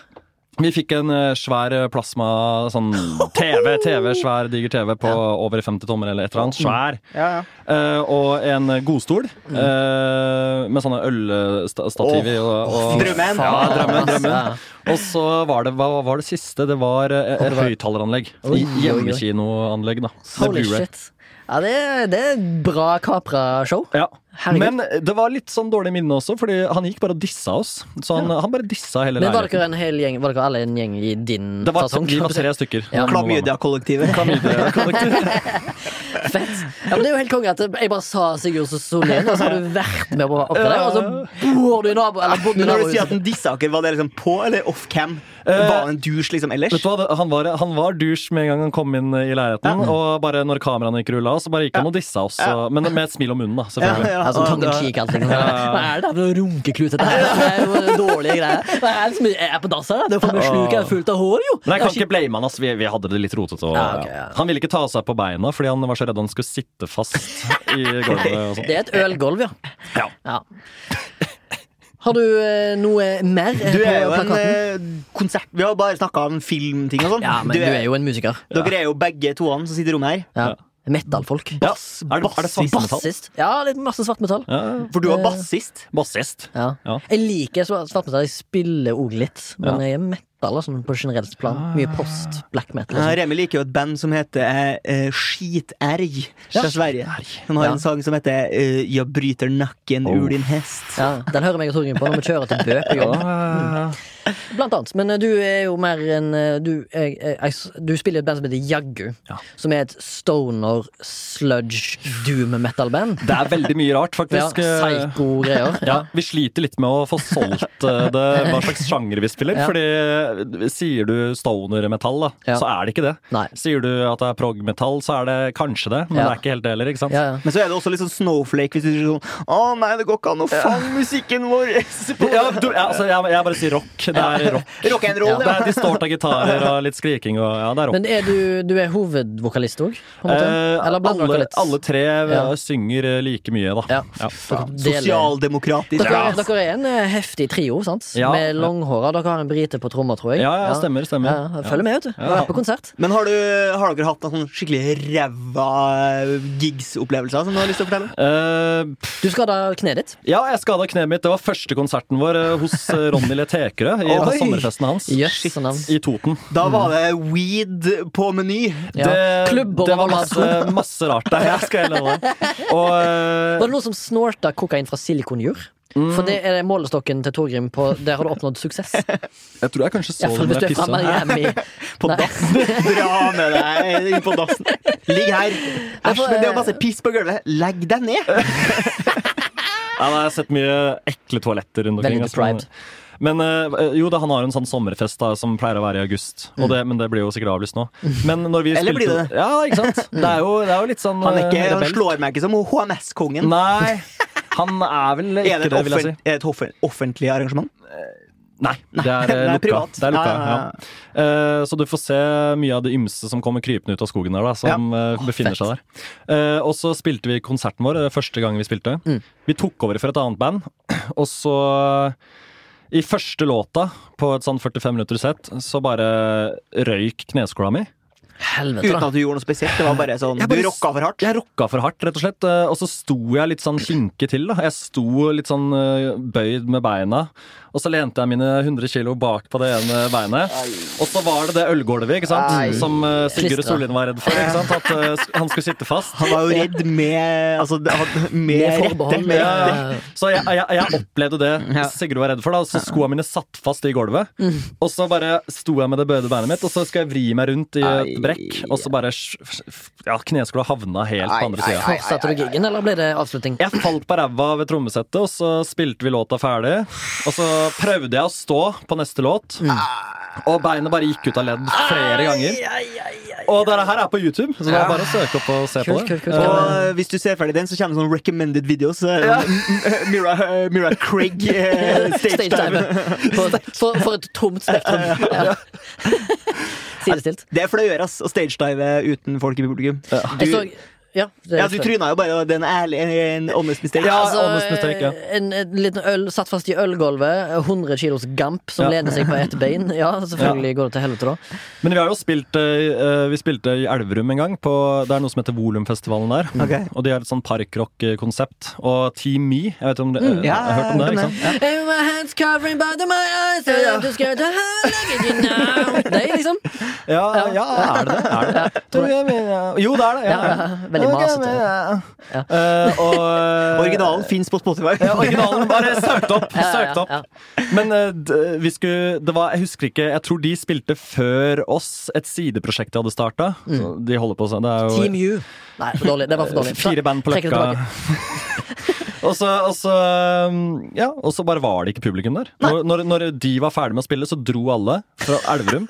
S3: vi fikk en eh, svær eh, plasma sånn TV, TV, svær diger TV på over 50 tommer eller et
S2: Mm.
S3: eller annet. Svær.
S1: Ja, ja.
S3: Eh, og en godstol eh, med sånne ølstativer. og, og,
S1: Drømmen.
S3: Ja,
S2: Faen,
S3: drømmen,
S2: ass.
S3: drømmen. Og så var det hva var det siste? Det var eh, et høyttaleranlegg.
S2: Oi, oi, oi.
S3: Hjemmekinoanlegg, da. Med
S2: Holy
S3: Blu-ray.
S2: shit. Ja, det, er- det er bra kapra-show.
S3: Ja.
S2: Herregud.
S3: Men det var litt sånn dårlig minne også, Fordi han gikk bare og dissa oss. Så han, han bare dissa hele
S2: Men var
S3: leiligheten.
S2: dere, en hel gjeng, var dere alle en gjeng i din
S3: Det var,
S2: fasong?
S3: vi var tre stykker.
S2: Ja.
S3: Alle var med.
S1: Klamydia-kollektivet.
S3: Klamydia-kollektiv.
S2: Fett. Ja, men det er jo helt konge at jeg bare sa Sigurd så Solien, og så har du vært med på opp til det, og så bor du i nabo... Eller bodde i
S1: Men når du sier
S2: nabohuset.
S1: at den dissa dere, var det liksom på eller off cam? Var han en douche liksom ellers?
S3: Eh, Vet du hva, det- han var, han var douche med en gang han kom inn i leiligheten. Og bare når kameraene gikk rulla, så bare gikk han og dissa oss. og- Men med et smil om munnen, da.
S1: Ja,
S3: Selvfølgelig.
S1: ja,
S2: Altså,
S1: og
S2: tongue in
S1: da-
S2: cheek, allting. Hva er det for runkeklut dette her? Det er jo dårlige greier. Hva er det som jeg er på dass her? da? Det er jo faen meg sluket er fullt av hår, jo.
S3: Men jeg kan ikke blame han, ass. Vi, vi hadde det litt rotete. Og,
S2: Ja, ok, ja.
S3: Han ville ikke ta seg på beina fordi han var så redd han skulle sitte fast i gulvet. Og sånn.
S2: Det er et ølgolv, ja.
S3: Ja.
S2: Har du eh, noe mer eh,
S1: Du er jo
S2: på
S1: en
S2: plakaten?
S1: eh, konsert... Vi har bare snakka om filmting og sånn.
S2: Ja, men du er jo en musiker.
S1: Dere er jo begge toene som sitter i rommet her.
S2: Ja. Metal-folk.
S3: Ja. Er det, er det svart metall?
S2: Bassist. Ja, litt masse svartmetall.
S3: Ja,
S1: For du var bassist.
S3: bassist.
S2: Ja.
S3: Ja.
S2: Jeg liker svart- svartmetall. Jeg spiller òg litt, men
S3: Ja. Ah.
S2: jeg er metal altså, på generelt plan. Mye post-black metal.
S1: Ja,
S2: Liksom.
S1: Remi liker jo et band som heter eh, eh, Skiterg
S2: Ja.
S1: fra Sverige. Han har
S2: Ja.
S1: en sang som heter eh, Jeg bryter nakken
S3: Oh.
S1: ur din hest.
S2: Ja, den hører meg og Torgrim på når vi kjører til Bø på jobb. Mm.
S3: Ja.
S2: Blant annet. Men eh, du er jo mer en eh, Du, jeg, jeg, jeg, s- du spiller i et band som heter Jaggu.
S3: Ja.
S2: Som er et stoner, sludge, doom metal-band.
S3: Det er veldig mye rart,
S2: Ja,
S3: faktisk. Eh,
S2: Psycho-greier.
S3: Ja, Vi sliter litt med å få solgt eh, det, hva slags sjanger vi spiller.
S2: Ja.
S3: Fordi eh, sier du stoner-metall, da,
S2: Ja.
S3: så er det ikke det.
S2: Nei.
S3: Sier du at det er prog-metall, så er det kanskje det, men
S2: Ja.
S3: det er ikke helt det heller. ikke sant?
S2: Ja, ja.
S1: Men så er det også litt sånn snowflake hvis du sier sånn Å nei, det går ikke an å fange musikken vår!
S3: Ja, du, ja, altså, jeg, jeg bare sier rock. Det er rock.
S1: Rock and roll,
S3: Det
S1: ja.
S3: er distorta gitarer og litt skriking og ja, det er rock.
S2: Men er du, du er hovedvokalist òg? på en måte?
S3: Eh,
S2: Eller blander dere
S3: alle,
S2: litt?
S3: alle tre eh,
S2: Ja.
S3: synger eh, like mye, da.
S2: Ja.
S3: Ja.
S2: Deler-
S1: Sosialdemokratisk.
S2: Dere,
S1: Ja.
S2: dere er en eh, heftig trio, sant?
S3: Ja.
S2: Med langhåra. Dere har en brite på tromma, tror jeg.
S3: Ja, ja, stemmer, stemmer.
S2: Ja, Følg med, vet du. Jeg har vært på konsert.
S1: Men har, du, har dere hatt noen sånn skikkelig ræva eh, gigs-opplevelser som du har lyst til å fortelle?
S3: Eh,
S2: Du skada kneet ditt.
S3: ja, jeg skada kneet mitt. Det var første konserten vår eh, hos eh, Ronny Letekerø. I, på
S1: Oi.
S3: sommerfesten hans.
S2: Jøss, så navn.
S3: I Toten.
S1: Da var det
S2: Mm.
S1: weed på meny.
S2: Ja. Klubber
S3: det var
S2: og
S3: masse, masse rart der. Jeg skal jeg love deg. Og eh,
S2: Var det noen som snorta kokain fra silikonjur? For det er målestokken til Torgrim. På, der har du oppnådd suksess.
S3: jeg tror jeg kanskje så
S2: Iallfall hvis
S3: den da
S2: du er
S3: jeg
S2: fra
S3: pissa.
S2: Miami.
S1: På
S2: Nei.
S1: dassen. Dra med deg inn på dassen. Ligg her. Æsj, men
S2: eh,
S1: det er masse piss på gulvet. Legg deg ned.
S3: Ja, nei, jeg har sett mye ekle toaletter rundt omkring.
S2: Veldig
S3: altså, men-
S2: deprived.
S3: Men eh, jo da, han har en sånn sommerfest da, som pleier å være i august, og det, men det blir jo sikkert avlyst nå. Men når vi
S1: Mm. Eller
S3: spilte,
S1: blir det det?
S3: Ja, ikke sant? Det er jo, det er jo litt sånn
S1: Han, er ikke,
S3: eh,
S1: han
S3: rebell.
S1: slår meg ikke som HMS-kongen.
S3: Nei, han er vel
S1: Er
S3: ikke
S1: det et,
S3: det, vil jeg si.
S1: offent- er det et offent- offentlig arrangement?
S3: Nei, det er eh,
S1: det er
S3: lukka.
S1: privat.
S3: Det er lukka
S1: Ja, ja, ja.
S3: ja. Eh, så du får se mye av det ymse som kommer krypende ut av skogen der, da, som eh, befinner seg der. Eh, og så spilte vi konserten vår, eh, første gang vi spilte.
S1: Mm.
S3: Vi tok over for et annet band, og så eh, i første låta på et sånn 45 minutter sett, så bare røyk kneskåla mi.
S2: Helvete,
S1: Uten
S2: da.
S1: at du gjorde noe spesielt. Det var bare sånn,
S3: Jeg bare-
S1: Du rocka for hardt.
S3: Jeg rocka for hardt, rett og slett. eh, Og så sto jeg litt sånn kinke til. da Jeg sto litt sånn eh, bøyd med beina. Og så lente jeg mine 100 kilo bak på det ene beinet. Og så var det det ølgulvet ikke sant?
S1: Ai.
S3: som eh, Sigurd
S2: Klistra.
S3: Sollien var redd for. Ikke sant? At eh, sk- han skulle sitte fast.
S1: Han var jo redd med altså, det- han- Med,
S2: Med
S1: rette.
S2: forbehold.
S1: Med,
S2: Ja, ja.
S3: Så jeg, jeg, jeg opplevde det
S1: Ja. Mm.
S3: Sigurd var redd for. da og Så Skoa mine satt fast i gulvet. Og så bare sto jeg med det bøyde beinet mitt, og så skal jeg vri meg rundt i et
S1: Ai.
S3: brekk, og så bare sj- sj- Ja, kneskola havna helt
S1: Ai,
S3: på andre sida.
S2: Fortsatte du giggen, eller ble det avslutning?
S3: Jeg falt på ræva ved trommesettet, og så spilte vi låta ferdig. Og så prøvde jeg å stå på neste låt, og beinet bare gikk ut av ledd flere ganger. Og dette her er på YouTube, så det er bare å søke opp og se på
S2: Kult,
S3: det.
S2: kult, kult.
S3: Eh,
S1: og hvis du ser ferdig den, så kommer det sånn recommended videos. Ja. Mira, eh, Mira Craig eh, stage dive.
S2: Stagedive. For, for, for et tomt spektrum. Ja. Sidestilt.
S1: Det er flauere ass, å stagedive uten folk i publikum.
S2: Jeg så
S1: Du,
S2: Ja, det
S1: ja, du tryna jo bare. Det er en ærlig en honest mistake.
S3: Ja,
S2: Altså,
S3: honest mistake, ja.
S2: en, en liten øl satt fast i ølgulvet. 100 kilos gamp som
S3: Ja.
S2: lener seg på ett bein. Ja, selvfølgelig går det til helvete, da.
S3: Men vi har jo spilt eh, Vi spilte i Elverum en gang. På, det er noe som heter Volumfestivalen der.
S1: Ok.
S3: Og de har et sånn parkrock-konsept. Og Team Me, jeg vet om det, eh,
S1: Mm. Ja,
S3: jeg har hørt om det?
S1: jeg
S3: ikke
S1: har
S3: sant?
S2: And my hands covering by the- my eyes, and I'm just scared to look at you now. Nei, liksom.
S3: Ja, ja, er det det? Er det? det? Tror jeg vi- ja. Jo, det er det. Ja,
S2: Ja, veldig
S3: Ok,
S2: masete.
S3: men, ja. Eh, og, eh,
S1: Originalen fins på Spotify.
S3: Ja, originalen bare søkt opp.
S2: Ja, ja, ja,
S3: Søkt opp. Men eh, d- vi skulle Det var, jeg husker ikke Jeg tror de spilte før oss et sideprosjekt de hadde starta. De holder på sånn. Det er jo
S2: Mm. Team U. Nei, for dårlig. Det var for dårlig.
S3: Fire band på
S2: Trekk det
S3: løkka.
S2: tilbake.
S3: og, så, og, så, um, ja, og så bare var det ikke publikum der. Når, når, når de var ferdig med å spille, så dro alle fra Elverum.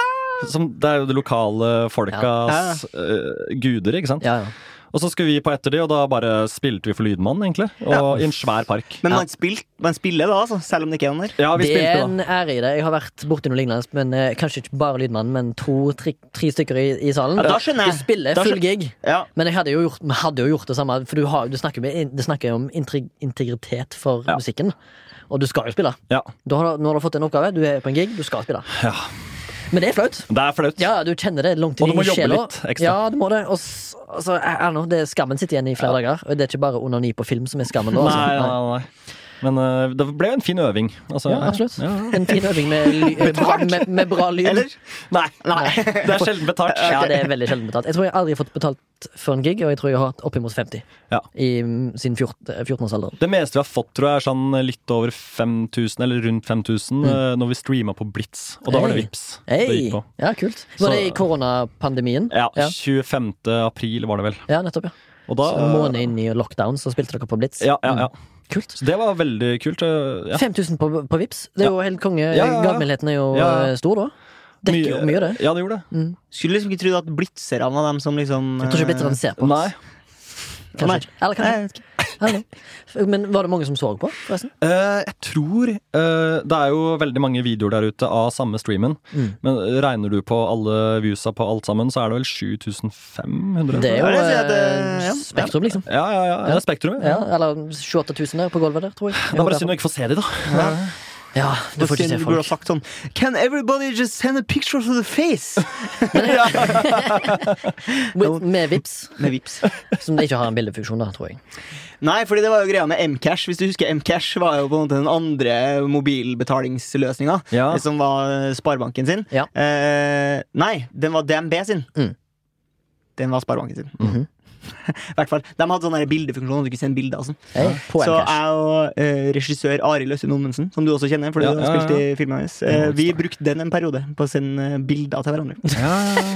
S3: Som, det er jo det lokale folkas eh, guder, ikke sant.
S2: Ja, ja.
S3: Og så skulle vi på etter de, og da bare spilte vi for Lydmannen, egentlig. Og i en svær park.
S1: Men man, spil, man spiller da, altså, selv om det ikke er noen der.
S3: Ja, vi
S2: Det
S3: spilte
S2: er
S3: da.
S2: en ære i det. Jeg har vært borti noe lignende, men eh, kanskje ikke bare Lydmannen, men to-tre tre stykker i, i salen.
S1: Ja, da skjønner jeg.
S2: De spiller
S1: Da skjøn-
S2: full gig.
S1: Ja.
S2: Men jeg hadde jo gjort, vi hadde jo gjort det samme, for du, har, du snakker med, det snakker jo om intrig, integritet for
S3: Ja.
S2: musikken. Og du skal jo spille.
S3: Ja.
S2: Du har, nå har du fått en oppgave, du er på en gig, du skal spille.
S3: Ja.
S2: Men det er flaut.
S3: Det er flaut.
S2: Ja, du kjenner det langt
S3: Og
S2: inn
S3: du må
S2: i
S3: jobbe
S2: sjela.
S3: litt ekstra.
S2: Ja, du må det. Og s- altså, jeg- jeg nå, det er skammen sitter igjen i flere dager. Og det er ikke bare onani på film som er skammen. nå,
S3: Nei,
S2: altså.
S3: nei, nei. Men eh, det ble jo en fin øving. Altså,
S2: Ja, absolutt.
S3: Ja.
S2: En fin øving med, ly-
S1: Betalt?
S2: med, med bra lyd.
S1: Eller?
S3: Nei, det er sjelden betalt.
S2: Ja, det er veldig sjelden betalt. Jeg tror jeg aldri har fått betalt for en gig, og jeg tror jeg har hatt oppimot 50
S3: Ja.
S2: i, mm, siden 14 14-årsalderen.
S3: Det meste vi har fått, tror jeg, er sånn litt over 5000, eller rundt 5000,
S2: Mm.
S3: eh, når vi streama på Blitz. Og da var det
S2: Hey.
S3: Vips det
S2: Hey.
S3: gikk på.
S2: Ja, kult.
S3: Så-
S2: Var det i koronapandemien?
S3: Ja,
S2: ja.
S3: 25. april var det vel.
S2: Ja, nettopp, ja.
S3: Og da
S2: Så en måned inn i lockdown, så spilte dere på Blitz. Mm.
S3: Ja, ja, ja.
S2: Kult.
S3: Så det var veldig kult. eh, Ja.
S2: 5000 på, på Vips Det er jo helt konge.
S3: ja, ja.
S2: Gavmildheten er jo
S3: Ja, ja.
S2: eh, stor, da. Dekker jo mye, det.
S3: Ja, det gjorde det.
S1: Skulle liksom ikke trodd at blitzer av dem som liksom eh,
S2: Jeg tror ikke Blitz han ser på.
S3: Nei.
S2: oss. Kanskje ikke. Eller
S1: Nei,
S2: kanskje.
S1: jeg vet ikke.
S2: Eller noe. Men var det mange som så på, forresten?
S3: Eh, jeg tror eh, Det er jo veldig mange videoer der ute av samme streamen.
S2: Mm.
S3: Men regner du på alle viewsa på alt sammen, så er det vel 7500?
S2: Det er
S1: Ja,
S2: jo
S1: det sier jeg at,
S2: eh,
S1: eh, ja.
S2: Spektrum, liksom.
S3: Ja, ja, ja. Det er Spektrum. Ja.
S2: Ja, eller 28 000 der på gulvet der, tror jeg.
S3: Det er bare synd å ikke få se de, da.
S2: Ja, du
S1: Det
S2: får ikke se
S1: synd du burde ha
S2: folk.
S1: sagt sånn Can everybody just send a picture of the face?
S2: With, med Vips
S1: Med vips.
S2: som de ikke har en bildefunksjon da, tror jeg.
S1: Nei, fordi det var jo greia med Mcash. Hvis du husker Mcash var jo på en måte den andre mobilbetalingsløsninga
S3: Ja. altså.
S1: eh, som var Sparebanken sin.
S2: Ja.
S1: Eh, nei, den var DNB sin.
S2: Mm.
S1: Den var Sparebanken sin.
S2: Mhm.
S1: I hvert fall, De hadde sånn der bildefunksjon. og Du kunne sende bilder og sånn
S2: Hey, på
S1: Så
S2: Mcash.
S1: jeg og eh, regissør Arild Østin Ommensen, som du også kjenner, fordi
S3: Ja,
S1: du
S3: ja,
S1: har
S3: ja.
S1: spilt i filmen hennes, eh, vi brukte den en periode på å sende bilder til hverandre.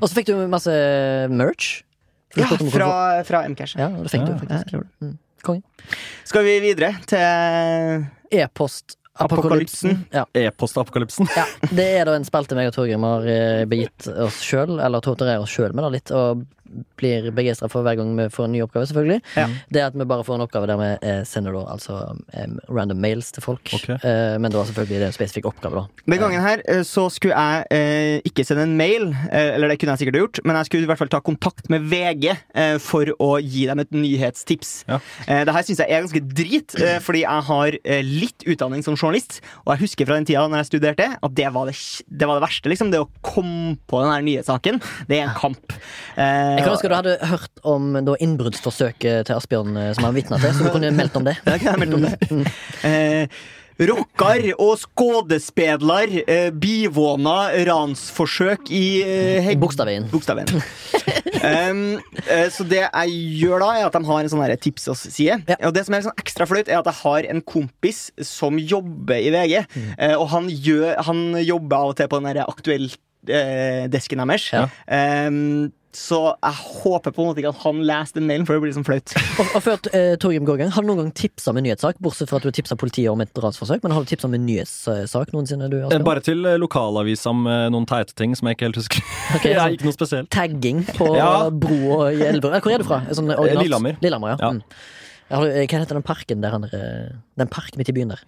S2: Og så fikk du masse merch.
S1: Ja,
S2: Spurte om du kunne få-
S1: fra, Mm. fra Mcash.
S2: ja det fikk
S3: Ja,
S2: du
S1: Ja, jeg
S2: faktisk.
S1: tror det.
S2: Konge.
S1: Skal vi videre til
S2: E-post. Apokalypsen. Ja.
S3: E-postapokalypsen.
S2: ja. Det er da en spalte meg og Torgrim har eh, begitt oss sjøl, eller torturerer oss sjøl med, da litt, og blir begeistra for hver gang vi får en ny oppgave, selvfølgelig.
S1: Ja.
S2: Det er at vi bare får en oppgave der vi eh, sender da altså em, random mails til folk.
S3: Ok.
S2: Eh, Men da selvfølgelig det er en spesifikk oppgave, da.
S1: Den gangen her eh, så skulle jeg eh, ikke sende en mail, eh, eller det kunne jeg sikkert ha gjort, men jeg skulle i hvert fall ta kontakt med VG eh, for å gi dem et nyhetstips.
S3: Ja.
S1: Eh, det her syns jeg er ganske drit, eh, fordi jeg har eh, litt utdanning som journalist, og jeg husker fra den tida når jeg studerte, at det var det, kj- det, var det verste, liksom. Det å komme på den her nyhetssaken, det er en kamp. Eh,
S2: Jeg kan ønske du hadde hørt om da innbruddsforsøket til Asbjørn eh, som han vitna til, så du kunne meldt om det.
S1: Ja, kan jeg melde om det. Eh, Rockar og skådespedlar, eh, bivåna ransforsøk i eh, Hegg-
S2: Bogstadveien.
S1: Bogstadveien. Em, eh, så det jeg gjør da, er at de har en sånn her tips oss-side.
S2: Ja.
S1: Og det som er litt sånn ekstra flaut, er at jeg har en kompis som jobber i VG.
S2: Mm.
S1: eh, og han, gjør, han jobber av og til på den her aktuelt-desken deres.
S2: Ja.
S1: Em, så jeg håper på en måte ikke at han leser den mailen, for det blir liksom flaut.
S2: Og, og før eh, Torgrim går i gang, har du noen gang tipsa om en nyhetssak? Bortsett fra at du tipsa politiet om et ransforsøk, men har du tipsa om en nyhetssak noensinne? du, Asbjørn?
S3: Bare til eh, lokalavisa om eh, noen teite ting som jeg ikke helt husker.
S2: Ok,
S3: ja,
S2: sånn.
S3: ikke noe spesielt.
S2: Tagging på
S3: Ja.
S2: bro og i Elverum. Eh, Hvor er du fra? Sånn, originalt.
S3: Lillehammer.
S2: Lillehammer ja.
S3: Ja.
S2: Mm. Ja, har du- eh, Hva heter den parken der han eh, Den park midt i byen der?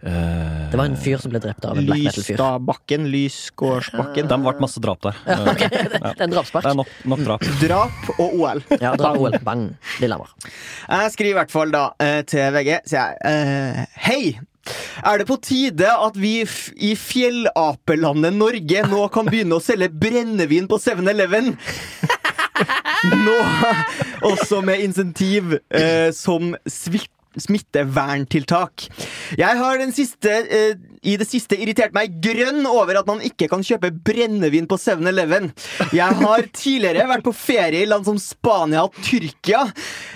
S2: Det var en fyr som ble drept av en black metal-fyr.
S1: Lystadbakken, Lysgårdsbakken.
S3: De ble masse drap der. Eh,
S2: Det er en
S3: Det er
S2: drapspark.
S3: nok, nok drap.
S1: Drap og OL.
S2: Ja, drap OL. Bang. Lillehammer.
S1: Jeg skriver i hvert fall da eh, til VG, sier jeg eh, Hei! Er det på tide at vi f i fjellapelandet Norge nå kan begynne å selge brennevin på 7-Eleven? Nå også med insentiv eh, som svil- smitteverntiltak. Jeg har den siste, eh, i det siste irritert meg grønn over at man ikke kan kjøpe brennevin på 7-Eleven. Jeg har tidligere vært på ferie i land som Spania og Tyrkia,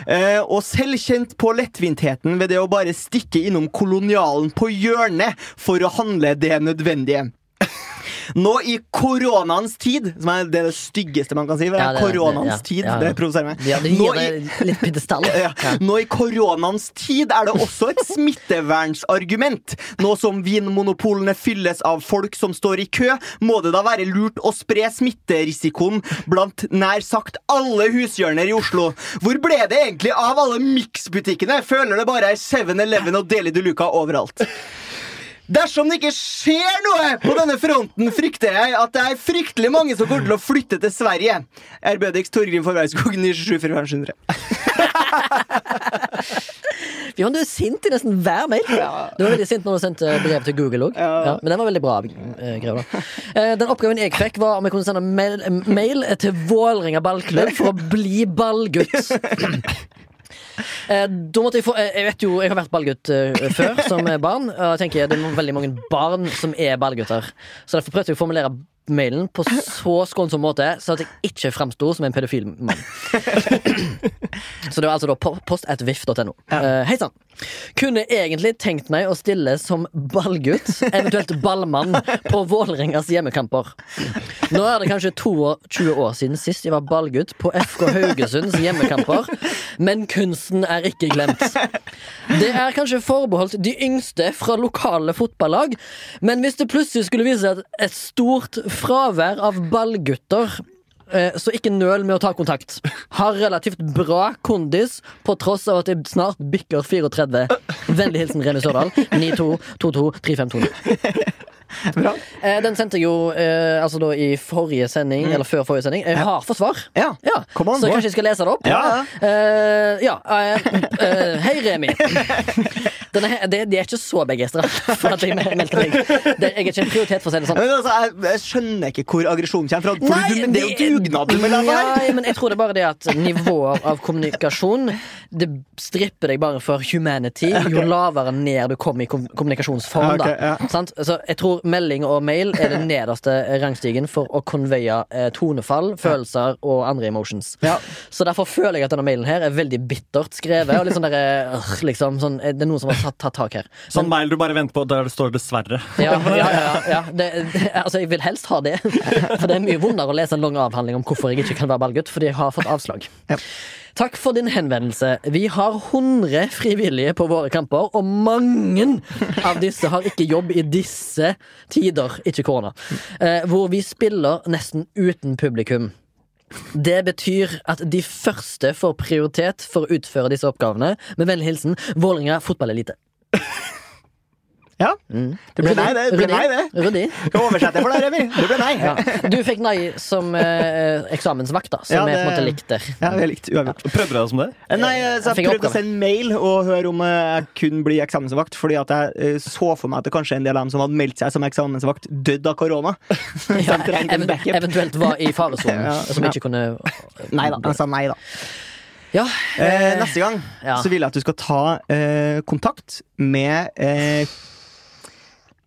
S1: eh, og selv kjent på lettvintheten ved det å bare stikke innom kolonialen på hjørnet for å handle det nødvendige. Nå i koronaens tid, som er det styggeste man kan si,
S2: Ja, det- det- ja,
S1: koronaens tid,
S2: ja, ja.
S1: det provoserer meg.
S2: Ja, det
S1: Nå
S2: gir
S1: i-
S2: deg litt pidestall.
S1: ja. Nå i koronaens tid er det også et smittevernsargument. Nå som vinmonopolene fylles av folk som står i kø, må det da være lurt å spre smitterisikoen blant nær sagt alle hushjørner i Oslo. Hvor ble det egentlig av alle Mix-butikkene? Føler det bare er 7-Eleven og Deli de Luca overalt. Dersom det ikke skjer noe på denne fronten, frykter jeg at det er fryktelig mange som kommer til å flytte til Sverige. Ærbødigst Torgrim Forbergskog 974400.
S2: Bjørn, du er sint i nesten hver mail. Du var veldig sint når du sendte eh, brev til Google òg. Ja. men den var veldig bra. eh, Grev, da. Eh, Den oppgaven jeg fikk, var om jeg kunne sende mail, eh, mail til Vålerenga ballklubb for å bli ballgutt. Eh, Da måtte jeg, få, eh, jeg vet jo, jeg har vært ballgutt eh, før som eh, barn. Og jeg tenker Det er veldig mange barn som er ballgutter. Så derfor prøvde jeg å formulere mailen på så skånsom måte, så at jeg ikke framsto som en pedofil mann. Så det var altså da po- post at vif.no. Eh, Hei sann. Kunne egentlig tenkt meg å stille som ballgutt, eventuelt ballmann, på Vålerengas hjemmekamper. Nå er det kanskje 22 år siden sist jeg var ballgutt på FK Haugesunds hjemmekamper, men kunsten er ikke glemt. Det er kanskje forbeholdt de yngste fra lokale fotballag, men hvis det plutselig skulle vise seg at et stort fravær av ballgutter Eh, Så ikke nøl med å ta kontakt. Har relativt bra kondis på tross av at jeg snart bikker 34. Vennlig hilsen Remi Sørdal. 92223520.
S1: Bra.
S2: Eh, Den sendte jeg jo eh, altså da i forrige sending, eller før forrige sending. Jeg har fått svar.
S1: Mm. Ja.
S2: Ja,
S1: Kom an,
S2: så
S1: gå.
S2: kanskje jeg skal lese det opp?
S1: Ja,
S2: Eh, ja eh, eh, Hei, Remi. Den er, de, de er ikke så begeistra for at jeg meldte meg. Det- Jeg er ikke en prioritet, for å si det sånn.
S1: Men altså, jeg, jeg skjønner ikke hvor aggresjonen kommer fra. For
S2: Nei,
S1: du, men det er jo dugnad du
S2: det-
S1: melder her!
S2: Nei, men jeg tror det er bare det at nivået av kommunikasjon Det stripper deg bare for humanity jo lavere ned du kommer i kom kommunikasjonsform.
S1: Ja, ok,
S2: da.
S1: ja.
S2: Sant? Så jeg tror melding og mail er den nederste rangstigen for å konveie eh, tonefall, følelser og andre emotions.
S1: Ja.
S2: Så derfor føler jeg at denne mailen her er veldig bittert skrevet. Og litt sånn der, eh, øh, liksom, sånn, eh, det er noen som har tatt, tatt tak her.
S3: Sånn mail du bare venter på, der det står 'dessverre'.
S2: Ja, ja, ja, ja. Det, det, altså, jeg vil helst ha det. For det er mye vondere å lese en lang avhandling om hvorfor jeg ikke kan være ballgutt, fordi jeg har fått avslag.
S1: Ja.
S2: Takk for din henvendelse. Vi har 100 frivillige på våre kamper, og mange av disse har ikke jobb i disse tider, ikke korona, eh, hvor vi spiller nesten uten publikum. Det betyr at de første får prioritet for å utføre disse oppgavene. Med vennlig hilsen Vålerenga fotballelite.
S1: Ja. Det ble nei, det. det, ble nei, det.
S2: Ryddig. Ryddig.
S1: Skal oversette for deg, Remi. Det ble nei. Ja,
S2: Ja. Du fikk nei som eh, eksamensvakt, da, som
S1: Ja,
S2: jeg på en
S1: det-
S2: måte likte.
S1: det er likt. Uavgjort.
S3: Prøvde du deg som det?
S1: Eh, Nei, eh,
S2: Jeg
S1: så jeg
S2: fikk
S1: prøvde å
S2: oppgave.
S1: sende mail og høre om eh, jeg kunne bli eksamensvakt, fordi at jeg eh, så for meg at det kanskje er en del av dem som hadde meldt seg som eksamensvakt, døde av korona. Så de
S2: Ja,
S1: trengte en
S2: even,
S1: backup.
S2: eventuelt var i faresonen,
S1: Ja.
S2: som ikke kunne
S1: Nei da. Jeg sa nei, da.
S2: Ja.
S1: altså, Eh, neste gang
S2: ja.
S1: så vil jeg at du skal ta eh, kontakt med eh,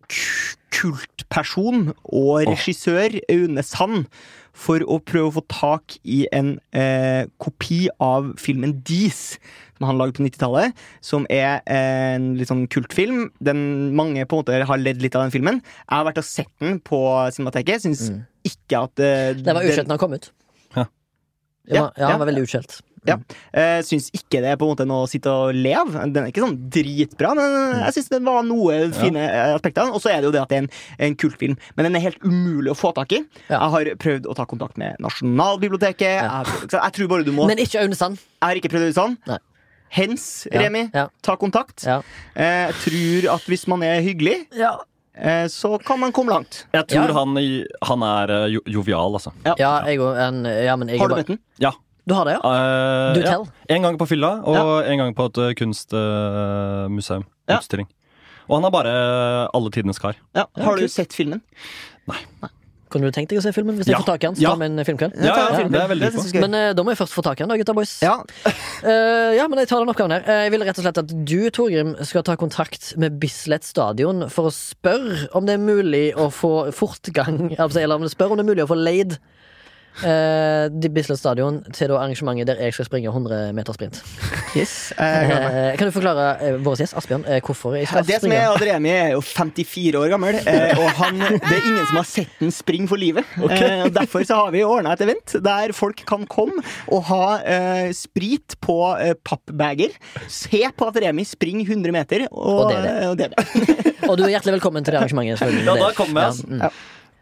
S1: k- kultperson og regissør Aune Sand for å prøve å få tak i en eh, kopi av filmen Dis. Som han lagde på 90-tallet, som er en litt sånn kultfilm. Den, mange på en måte har ledd litt av den filmen. Jeg har vært og sett den på Cinemateket. Syns ikke at eh,
S2: Mm. Den var
S1: den-
S2: utskjelt da den kom ut.
S3: Ja.
S2: Den var-
S1: Ja,
S2: Ja,
S1: ja.
S2: den var veldig utskjelt.
S1: ja. Eh, syns ikke det er på en måte noe å sitte og le av. Den er ikke sånn dritbra,
S2: Mm.
S1: men eh, jeg syns det var noe fine eh, aspekter. av den. Og så er det jo det at det er en, en kultfilm, men den er helt umulig å få tak i.
S2: Ja.
S1: Jeg har prøvd å ta kontakt med Nasjonalbiblioteket. Jeg, har prøvd- så jeg tror bare du må
S2: Men ikke Aune Sand.
S1: Jeg har ikke prøvd det sånn.
S2: Nei.
S1: Hens,
S2: Ja,
S1: Remi,
S2: ja.
S1: ta kontakt.
S2: Ja.
S1: Eh, jeg tror at hvis man er hyggelig,
S2: Ja.
S1: eh, så kan man komme langt.
S3: Jeg tror
S2: Ja.
S3: han, i- han er eh, jo, jovial, altså.
S2: jeg og en ja, men jeg
S1: Har
S2: er
S1: du
S2: bare-
S1: møtt den?
S3: Ja.
S2: Du har det, ja?
S3: eh,
S2: Du
S3: ja.
S2: tell.
S3: En gang på fylla, og en gang på et eh, kunstmuseum.
S1: Ja.
S3: Utstilling. Og han er bare eh, alle tidenes kar.
S1: Ja. Har du sett filmen?
S2: Kunne du tenkt deg å se filmen hvis jeg
S3: Ja.
S2: får tak i den? Så
S3: Ja.
S2: tar vi en filmkveld.
S3: Ja,
S1: Ta
S3: ja,
S1: filmen.
S3: det er jeg veldig
S1: Det syns
S3: på.
S1: jeg er gøy.
S2: Men eh, da må jeg først få tak i den, da, gutta boys.
S1: Ja.
S2: Eh, ja, men jeg tar den oppgaven her. Eh, jeg vil rett og slett at du, Torgrim, skal ta kontakt med Bislett Stadion for å spørre om det er mulig å få fortgang altså, Eller om det spør om det er mulig å få leid eh, de Bislett Stadion til da arrangementet der jeg skal springe 100 meter sprint.
S1: Yes. Eh,
S2: Eh, kan du forklare eh, vår gjest, Asbjørn, eh, hvorfor jeg
S1: Ja,
S2: skal
S1: det som er
S2: springe?
S1: at Remi er jo 54 år gammel, eh, og han, det er ingen som har sett den springe for livet. Eh, og Derfor så har vi ordna et event der folk kan komme og ha eh, sprit på eh, pappbager. Se på at Remi springer 100 meter,
S2: Og
S1: og, eh,
S2: det er det.
S1: og det er det.
S2: Og du er hjertelig velkommen til det arrangementet. selvfølgelig.
S3: Ja, da
S2: Det-
S3: kommer jeg, altså.
S2: mm.
S1: Ja.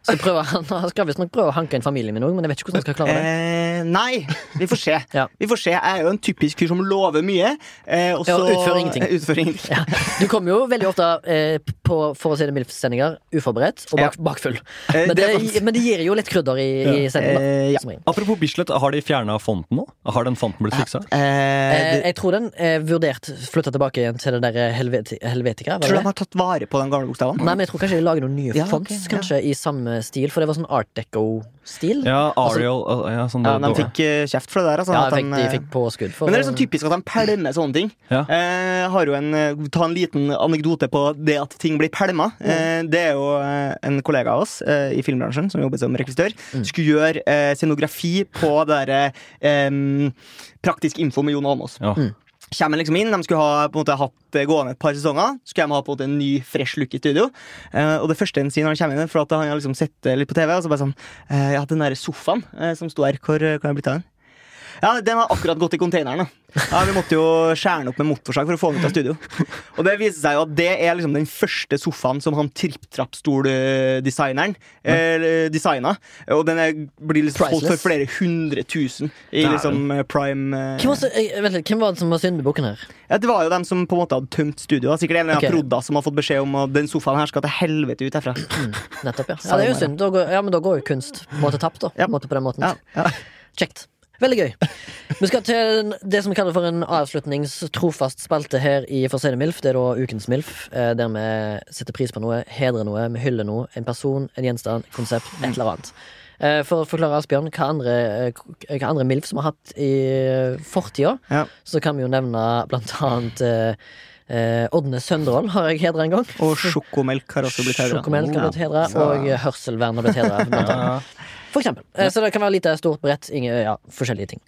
S2: Så prøver han Han skal visstnok prøve å hanke inn familien min òg, men jeg vet ikke hvordan han skal klare det.
S1: Eh, nei, vi får se.
S2: Ja.
S1: Vi får se. Jeg er jo en typisk fyr som lover mye. Eh, og
S2: Ja,
S1: så
S2: utfører ingenting.
S1: Utfører ingenting.
S2: Ja. Du kommer jo veldig ofte eh, på for å si det mildt, sendinger uforberedt og bak, bakfull.
S1: Eh,
S2: Men det,
S1: det er faktisk-
S2: men det gir jo litt krydder i, i sendingen. Da,
S1: Eh, ja.
S2: som regel.
S3: Apropos Bislett, har de fjerna fonten nå? Har den fonten blitt fiksa?
S1: Eh,
S2: Eh,
S1: det,
S2: jeg tror den er vurdert flytta tilbake igjen til det der eh, helveti, Helvetica. Var
S1: tror du
S2: det?
S1: de
S2: det?
S1: har tatt vare på den gamle bokstaven?
S2: eh, Nei, men jeg tror kanskje de lager noen nye
S1: Ja,
S2: fonts
S1: ok, ja.
S2: Kanskje i samme stil, for det var sånn Art Deco-stil.
S3: Ja, Ariel eh, ja, sånn
S1: Ja, de
S3: dårlig.
S1: fikk eh, kjeft for det der. Altså,
S2: Ja,
S1: at
S2: jeg fikk, de
S1: eh,
S2: fikk påskudd for
S1: men det er
S2: å-
S1: sånn typisk at de pælmer sånne ting.
S3: Ja.
S1: Eh, har jo en, eh, ta en liten anekdote på det at ting blir pælma. Eh, det er jo eh, en kollega av oss eh, i filmbransjen som jobbet som rekvisitør. Skulle gjøre eh, scenografi på det derre eh, Praktisk info med Jon Almaas.
S3: Ja.
S1: Kjem liksom inn, De skulle ha på en måte hatt eh, gående et par sesonger. Så skulle de ha på en måte en ny, fresh look i studio. Eh, og det første en sier når han kommer inn, er for at han har liksom sett det litt på TV, og så bare sånn eh, Ja, den derre sofaen eh, som sto her, hvor eh, hvor er det blitt av den? Ja, Den har akkurat gått i containeren. da. Ja, Vi måtte jo skjære den opp med motorsag for å få den ut av studio. Og Det viser seg jo at det er liksom den første sofaen som han tripp-trapp-stol-designeren eh, designa. Og den er, blir liksom solgt for
S2: Priceless.
S1: flere hundre tusen i
S3: Dæven.
S1: liksom eh, prime eh,
S2: Hvem var, så- eh, vent litt, hvem var det som var syndebukken her?
S1: ja, Det var jo dem som på en måte hadde tømt studioet. Sikkert en eller annen
S2: Ok.
S1: prodda som har fått beskjed om at den sofaen her skal til helvete ut herfra.
S2: Nettopp, ja. ja det er jo synd. Da går, ja, men da går jo kunst på en måte tapt, da. På,
S1: Ja.
S2: en måte på den måten.
S1: Ja, ja.
S2: Kjekt. Veldig gøy. Vi skal til det som vi kaller for en avslutningstrofast spalte her i For å si det MILF. Det er da Ukens MILF, eh, der vi setter pris på noe, hedrer noe, vi hyller noe. En person, en gjenstand, et konsept, et eller annet. Eh, For å forklare Asbjørn hva andre, eh, k- hva andre MILF som har hatt i fortida,
S1: Ja.
S2: så kan vi jo nevne blant annet eh, eh, Ådne Søndrål har jeg hedra en gang.
S1: Og sjokomelk har også blitt høyere.
S2: Sjokomelk har blitt hedra, og eh, hørselvern har blitt hedra.
S3: Ja.
S2: For eksempel. Eh, Så det kan være lite stort brett, ingen, ja, forskjellige ting.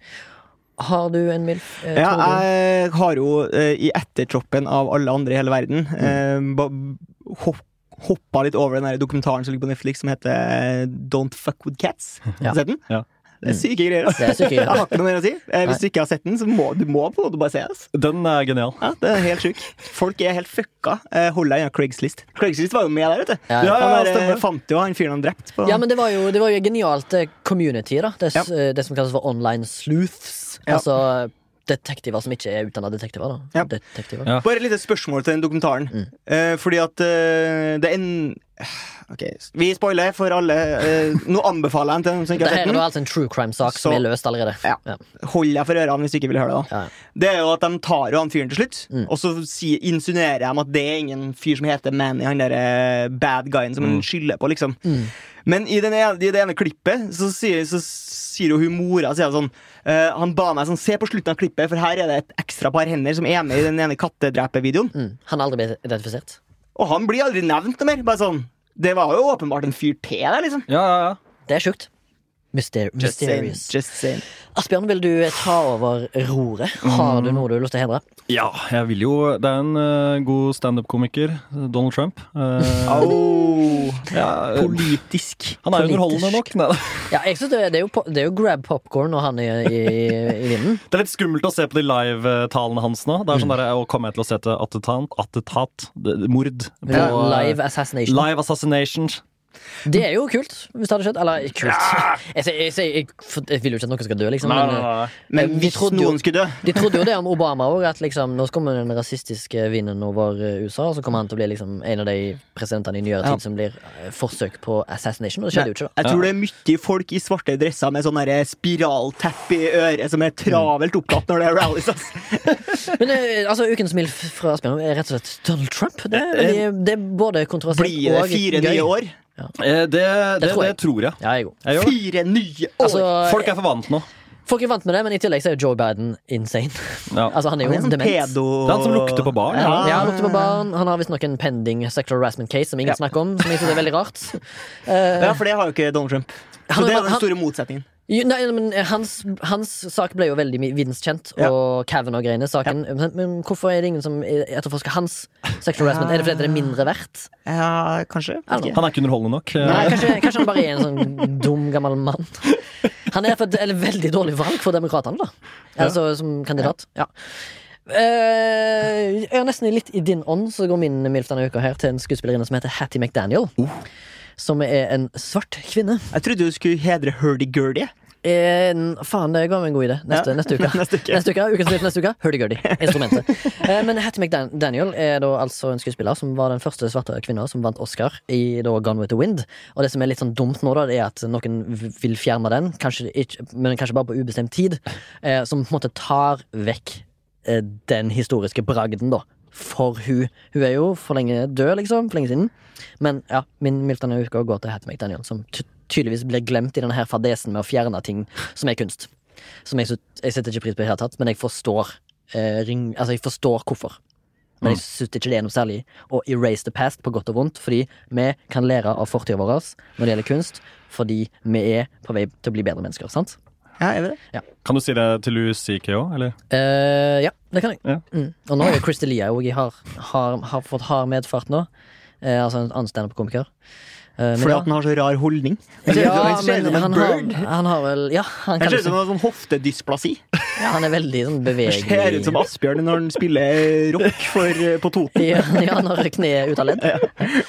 S2: Har du en MILF? eh,
S1: Ja,
S2: Torgrim?
S1: jeg har jo eh, i ettertroppen av alle andre i hele verden
S2: Mm.
S1: eh, ba- hopp- hoppa litt over den der dokumentaren som ligger på Netflix som heter eh, Don't Fuck With Cats. Har
S2: Ja.
S1: du sett den?
S3: Ja.
S1: Det er syke greier. ass.
S2: Det er syke greier.
S1: Jeg har ikke noe mer å si. Eh, hvis du ikke har sett den, så må du må på en måte bare se den. ass.
S3: Den er genial.
S1: Ja, det er helt sjuk. Folk er helt fucka. Eh, Hold deg unna Craigslist. Craigslist var jo med der, vet du.
S2: Ja,
S3: ja.
S1: han
S3: Ja, ja,
S1: der, eh,
S3: stemmer.
S1: fant jo han fyren han drepte på
S2: Ja, men det var jo, det var jo et genialt eh, community, da. Det, s-
S1: Ja.
S2: eh, det som kalles for online sleuths.
S1: Ja.
S2: Altså detektiver som ikke er utdanna detektiver, da.
S1: Ja.
S2: Detektiver.
S3: Ja.
S1: Bare et lite spørsmål til den dokumentaren. Eh, fordi at eh, det er en Ok, vi spoiler for alle. Eh, nå anbefaler jeg den til dem som ikke
S2: Det her
S1: har sett
S2: er da
S1: den.
S2: altså en true crime-sak
S1: Så-
S2: som er løst allerede.
S1: Ja. Hold deg for ørene hvis du ikke vil høre det. da
S2: Ja. Mm.
S1: Det er jo at De tar jo han fyren til slutt, og så si, insinuerer de at det er ingen fyr som heter Manny, han derre bad guyen som han skylder på, liksom.
S2: Mm.
S1: Men i, den ene, i det ene klippet så sier, så sier jo hun mora sier sånn eh, Han ba meg sånn Se på slutten av klippet, for her er det et ekstra par hender som er med i den ene kattedrepervideoen.
S2: Mm. Han har aldri blitt identifisert.
S1: Og han blir aldri nevnt noe mer. Bare sånn Det var jo åpenbart en fyr til der, liksom.
S3: Ja, ja, ja.
S2: Det er sjukt. Myster mysterious.
S1: Just saying.
S2: Asbjørn, vil du eh, ta over roret? Har
S1: Mm.
S2: du noe du har lyst til å hedre?
S3: Ja, jeg vil jo Det er en eh, god standup-komiker. Donald Trump. Eh,
S1: Au.
S3: ja, eh,
S1: Politisk.
S3: han er jo underholdende nok. Nei, da.
S2: Ja, jeg synes det, er- det, er jo, po- det er jo grab popcorn når han er i, i vinden.
S3: Det er litt skummelt å se på de live-talene hans nå. Det er sånn der, Å komme til å se til attentat, attentat det- det- mord på
S2: På
S3: eh,
S2: live assassination.
S3: live assassination.
S2: Det er jo kult, hvis det hadde skjedd. Eller kult. Jeg, sier- jeg, sier- jeg, for- jeg vil jo ikke at noen skal dø, liksom.
S3: Nei, nei,
S2: men,
S3: nei.
S1: Men
S2: Vi
S1: hvis
S2: trodde jo-
S1: noen skulle dø
S2: De trodde jo det om Obama òg, at liksom, nå kommer den rasistiske vinden over eh, USA, og så kommer han til å bli liksom, en av de presidentene i nyere tid
S1: Ja.
S2: som blir eh, forsøk på assassination. Og det skjedde jo ikke, da.
S1: Jeg tror det er mye folk i svarte dresser med sånn derre spiraltepp i øret som er travelt opptatt når det er rallies. ass.
S2: Men eh, altså, ukens MILF fra Asbjørn er rett og slett Donald Trump. Det er, veldig- det er både kontroversielt
S1: Blir det
S2: og
S1: fire
S2: gøy.
S1: nye år?
S3: Eh, Det, det,
S2: tror
S3: det
S2: jeg.
S3: tror jeg.
S2: Ja, jeg er god.
S3: jeg gjør det.
S1: Fire nye år!
S2: Altså,
S3: Folk er for vant nå.
S2: folk er vant med det, men i tillegg så er jo Joe Biden insane.
S3: Ja.
S2: altså, han er jo
S1: han er en sånn
S2: dement.
S1: pedo...
S3: Det er han som lukter på barn.
S1: Ja.
S3: Ja.
S2: Ja, han lukter på barn. Han har visstnok en pending sexual harassment case som ingen snakker om. Som jeg synes er veldig rart Eh,
S1: Ja, for det har jo ikke Donald Trump. Så
S2: Han-
S1: det er den
S2: han-
S1: store motsetningen.
S2: jo, nei, men hans, hans sak ble jo veldig mi- videnskjent,
S1: Ja.
S2: og Kavanaugh-greiene-saken. Men, men hvorfor er det ingen som etterforsker hans sexual harassment? Er det fordi det er mindre verdt?
S1: Ja, kanskje?
S2: Er det noe?
S3: Han er ikke underholdende nok. Eh,
S2: Nei, kanskje, kanskje han bare er en sånn dum, gammel mann. Han er for, eller veldig dårlig valg for demokratene, da. Altså som kandidat. Ja. Eh, jeg er nesten litt i din ånd, så går min MILF denne uka her til en skuespillerinne som heter Hattie McDaniel. som er en svart kvinne.
S1: Jeg trodde du skulle hedre hurdy-gurdy.
S2: En, faen, det ga meg en god idé. Neste,
S1: Ja.
S2: neste uke.
S1: Neste uke.
S2: Neste uke, Ukens nyhet neste uke. Hurdy-gurdy. Instrumentet. Eh, Men Hattie McDaniel er da altså en skuespiller som var den første svarte kvinna som vant Oscar i da Gone with the Wind. Og det som er litt sånn dumt nå, da, det er at noen v- vil fjerne den, kanskje ikke, men kanskje bare på ubestemt tid, eh, som på en måte tar vekk eh, den historiske bragden, da. For hun. Hun er jo for lenge død, liksom. For lenge siden. Men ja, min mildt denne uka går til Hattie McDaniel, som ty tydeligvis blir glemt i denne her fadesen med å fjerne ting som er kunst. Som jeg, sy- jeg setter ikke pris på i det hele tatt, men jeg forstår, eh, ring, altså jeg forstår hvorfor. Men jeg syns ikke det er noe særlig å erase the past på godt og vondt, fordi vi kan lære av fortida vår når det gjelder kunst, fordi vi er på vei til å bli bedre mennesker, sant?
S1: Ja, er vi det?
S3: Kan du si det til Louis CK òg, eller?
S2: Eh, ja, det kan jeg.
S3: Ja.
S2: Mm. Og nå er jo Christer Lia òg i hard, hard, har fått hard medfart nå. Eh, altså en annen standup-komiker. Eh, men
S1: Fordi
S2: ja.
S1: at den har så rar holdning.
S2: Ja,
S1: Han ser ut
S2: men
S1: som en
S2: han
S1: bird.
S2: har, han har vel Ja, han,
S1: Han
S2: kan
S1: ser ut
S2: liksom,
S1: som en sånn hoftedysplasi.
S2: ja, han er veldig sånn
S1: Han ser ut som
S2: bevegelig.
S1: Asbjørn når han spiller rock for, eh, på Toten.
S2: Ja, ja, når kneet er ute av ledd.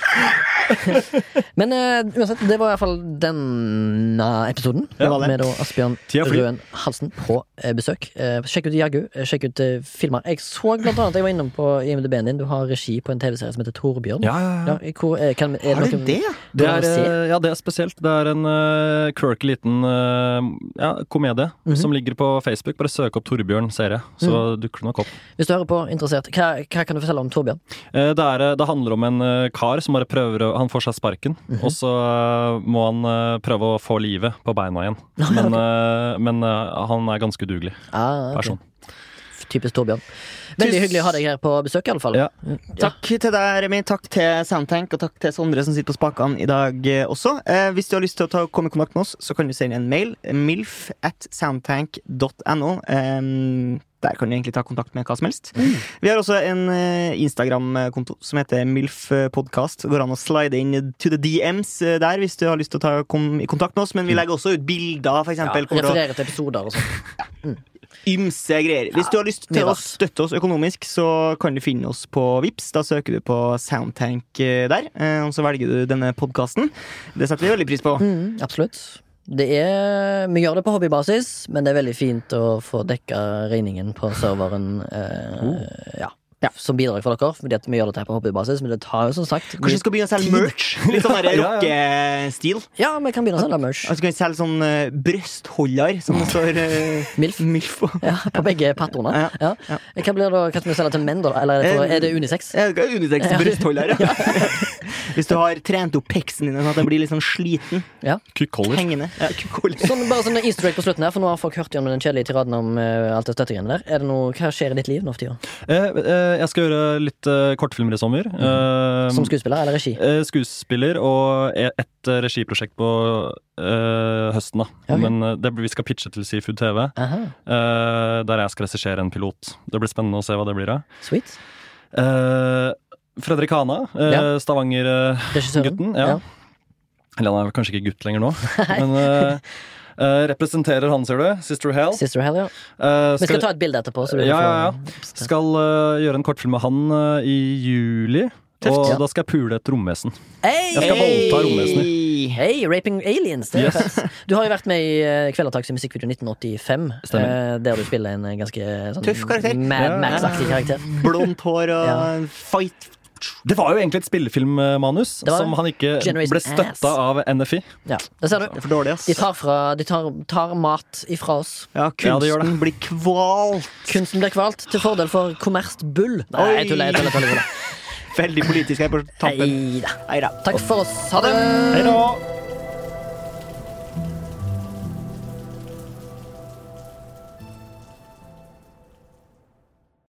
S2: Men eh, uansett, det var iallfall denne eh, episoden.
S1: Det var det.
S2: Med da Asbjørn
S3: Tida flyr.
S2: Røen Halsen på eh, besøk. Eh, sjekk ut Jagu. eh, Sjekk ut eh, filmer. Jeg så blant annet, jeg var innom på IMDb-en din, du har regi på en TV-serie som heter Torbjørn.
S3: Ja, ja,
S2: Ja, hvor, eh, kan, er
S1: Har
S2: det
S1: du
S2: noen-
S1: det?
S3: Det
S2: Kan
S3: er,
S2: man se?
S3: eh, ja, det er spesielt. Det er en uh, quirky liten eh, ja, komedie som ligger på Facebook. Bare søk opp Torbjørn serie, så dukker det nok opp.
S2: Hvis du hører på, interessert, hva, hva kan du fortelle om Torbjørn?
S3: Eh, det, er, eh, det handler om en eh, kar som bare prøver å Han får seg sparken,
S2: Mhm.
S3: og så eh, må han eh, prøve å få livet på beina igjen. Men, eh, men eh, han er ganske udugelig
S2: Ah, ok.
S3: person.
S2: Typisk Torbjørn. Veldig
S1: Tusen-
S2: hyggelig å ha deg her på besøk, iallfall.
S3: Ja.
S1: Takk til deg, Remi. Takk til Soundtank, og takk til Sondre som sitter på spakene i dag eh, også. Eh, hvis du har lyst til å ta, komme i kontakt med oss, så kan du sende en mail. Milf at soundtank.no. Eh, der kan du egentlig ta kontakt med hva som helst. Vi har også en eh, Instagram-konto som heter milfpodkast. Det går an å slide inn to the DMs eh, der hvis du har lyst til å ta, komme i kontakt med oss. Men vi legger også ut bilder, for
S2: Ja,
S1: eksempel. kommer det å-
S2: referere til episoder og sånn.
S1: ymse greier. Hvis du har lyst
S2: mye
S1: til å
S2: rart.
S1: støtte oss økonomisk, så kan du finne oss på Vips. Da søker du på Soundtank eh, der, eh, og så velger du denne podkasten. Det setter vi veldig pris på.
S2: Mm, absolutt. Det er, vi gjør det på hobbybasis, men det er veldig fint å få dekka regningen på serveren. Eh,
S3: Oh.
S2: ja.
S1: Ja.
S2: Som bidrag for dere, fordi at vi gjør dette her på hobbybasis. Men det tar jo som sagt
S1: Kanskje
S2: mye-
S1: vi skal begynne å selge merch? Litt sånn der
S3: Ja, ja.
S1: rockestil.
S2: Ja, vi kan begynne å selge merch.
S1: Og så kan vi selge sånn eh, brøstholder som det står eh,
S2: Milf.
S1: Milf på.
S2: Ja, på begge patterne.
S1: Ja,
S2: Ja. Hva blir det, hva skal vi selge til menn, da? Eller er det, for,
S1: Eh,
S2: er det unisex?
S1: Ja, det er Unisex-brøstholder, ja. Hvis du har trent opp peksen din sånn at den blir litt sånn sliten,
S3: Kukkoller.
S1: hengende. Ja, cool.
S2: Sånn, bare sånn easter egg på slutten her, for nå har folk hørt gjennom den kjedelige tiraden om eh, alt det støttegreiene der. Er det noe, hva skjer i ditt liv nå for tida?
S3: Eh, eh, jeg skal gjøre litt eh, kortfilmer i sommer. Eh,
S2: Mhm. Som skuespiller eller regi?
S3: eh, skuespiller og e- et eh, regiprosjekt på eh, høsten, da.
S2: Ja, ok.
S3: Men eh, det, blir- vi skal pitche til Seafood TV.
S2: Aha,
S3: Eh, der jeg skal regissere en pilot. Det blir spennende å se hva det blir av.
S2: sweet.
S3: Eh, Fredrik Hana, eh,
S2: Ja.
S3: Stavanger-gutten.
S2: Regissøren?
S3: ja. Eller han er vel kanskje ikke gutt lenger nå, men eh, eh, representerer han, ser du. Sister Hell.
S2: Sister Hell, ja.
S3: Eh,
S2: Vi skal
S3: skal
S2: ta et bilde etterpå. Så du
S3: Ja,
S2: får-
S3: ja, skal eh, gjøre en kortfilm med han eh, i juli.
S1: Tøft.
S3: og
S2: Ja.
S3: da skal jeg pule et romvesen.
S2: Hey!
S3: Jeg skal voldta romvesener.
S1: Hey.
S2: Hey, Raping Aliens. Det er fett. Du har jo vært med i eh, Kvelertaks musikkvideo 1985,
S3: Stemmer.
S2: eh, der du spiller en eh, ganske eh, sånn,
S1: Tøff karakter.
S2: Mad
S3: Ja.
S2: Max-aktig karakter.
S1: Blondt hår og
S2: Ja.
S1: fight.
S3: Det var jo egentlig et spillefilmmanus
S2: Det var
S3: som han ikke
S2: Generation
S3: ble
S2: Ass.
S3: støtta av NFI.
S2: Ja, det ser
S1: Det
S2: du.
S1: er for dårlig, ass.
S2: De tar, fra, de tar, tar mat ifra oss.
S1: Ja,
S3: Ja, det gjør
S1: kunsten blir kvalt.
S2: Kunsten blir kvalt til fordel for kommerst bull. Nei, jeg tuller. jeg tuller, jeg tuller, jeg tuller.
S1: Veldig politisk her på tampen.
S2: Neida.
S1: Neida.
S2: Takk for oss. Ha det.
S3: Hei da!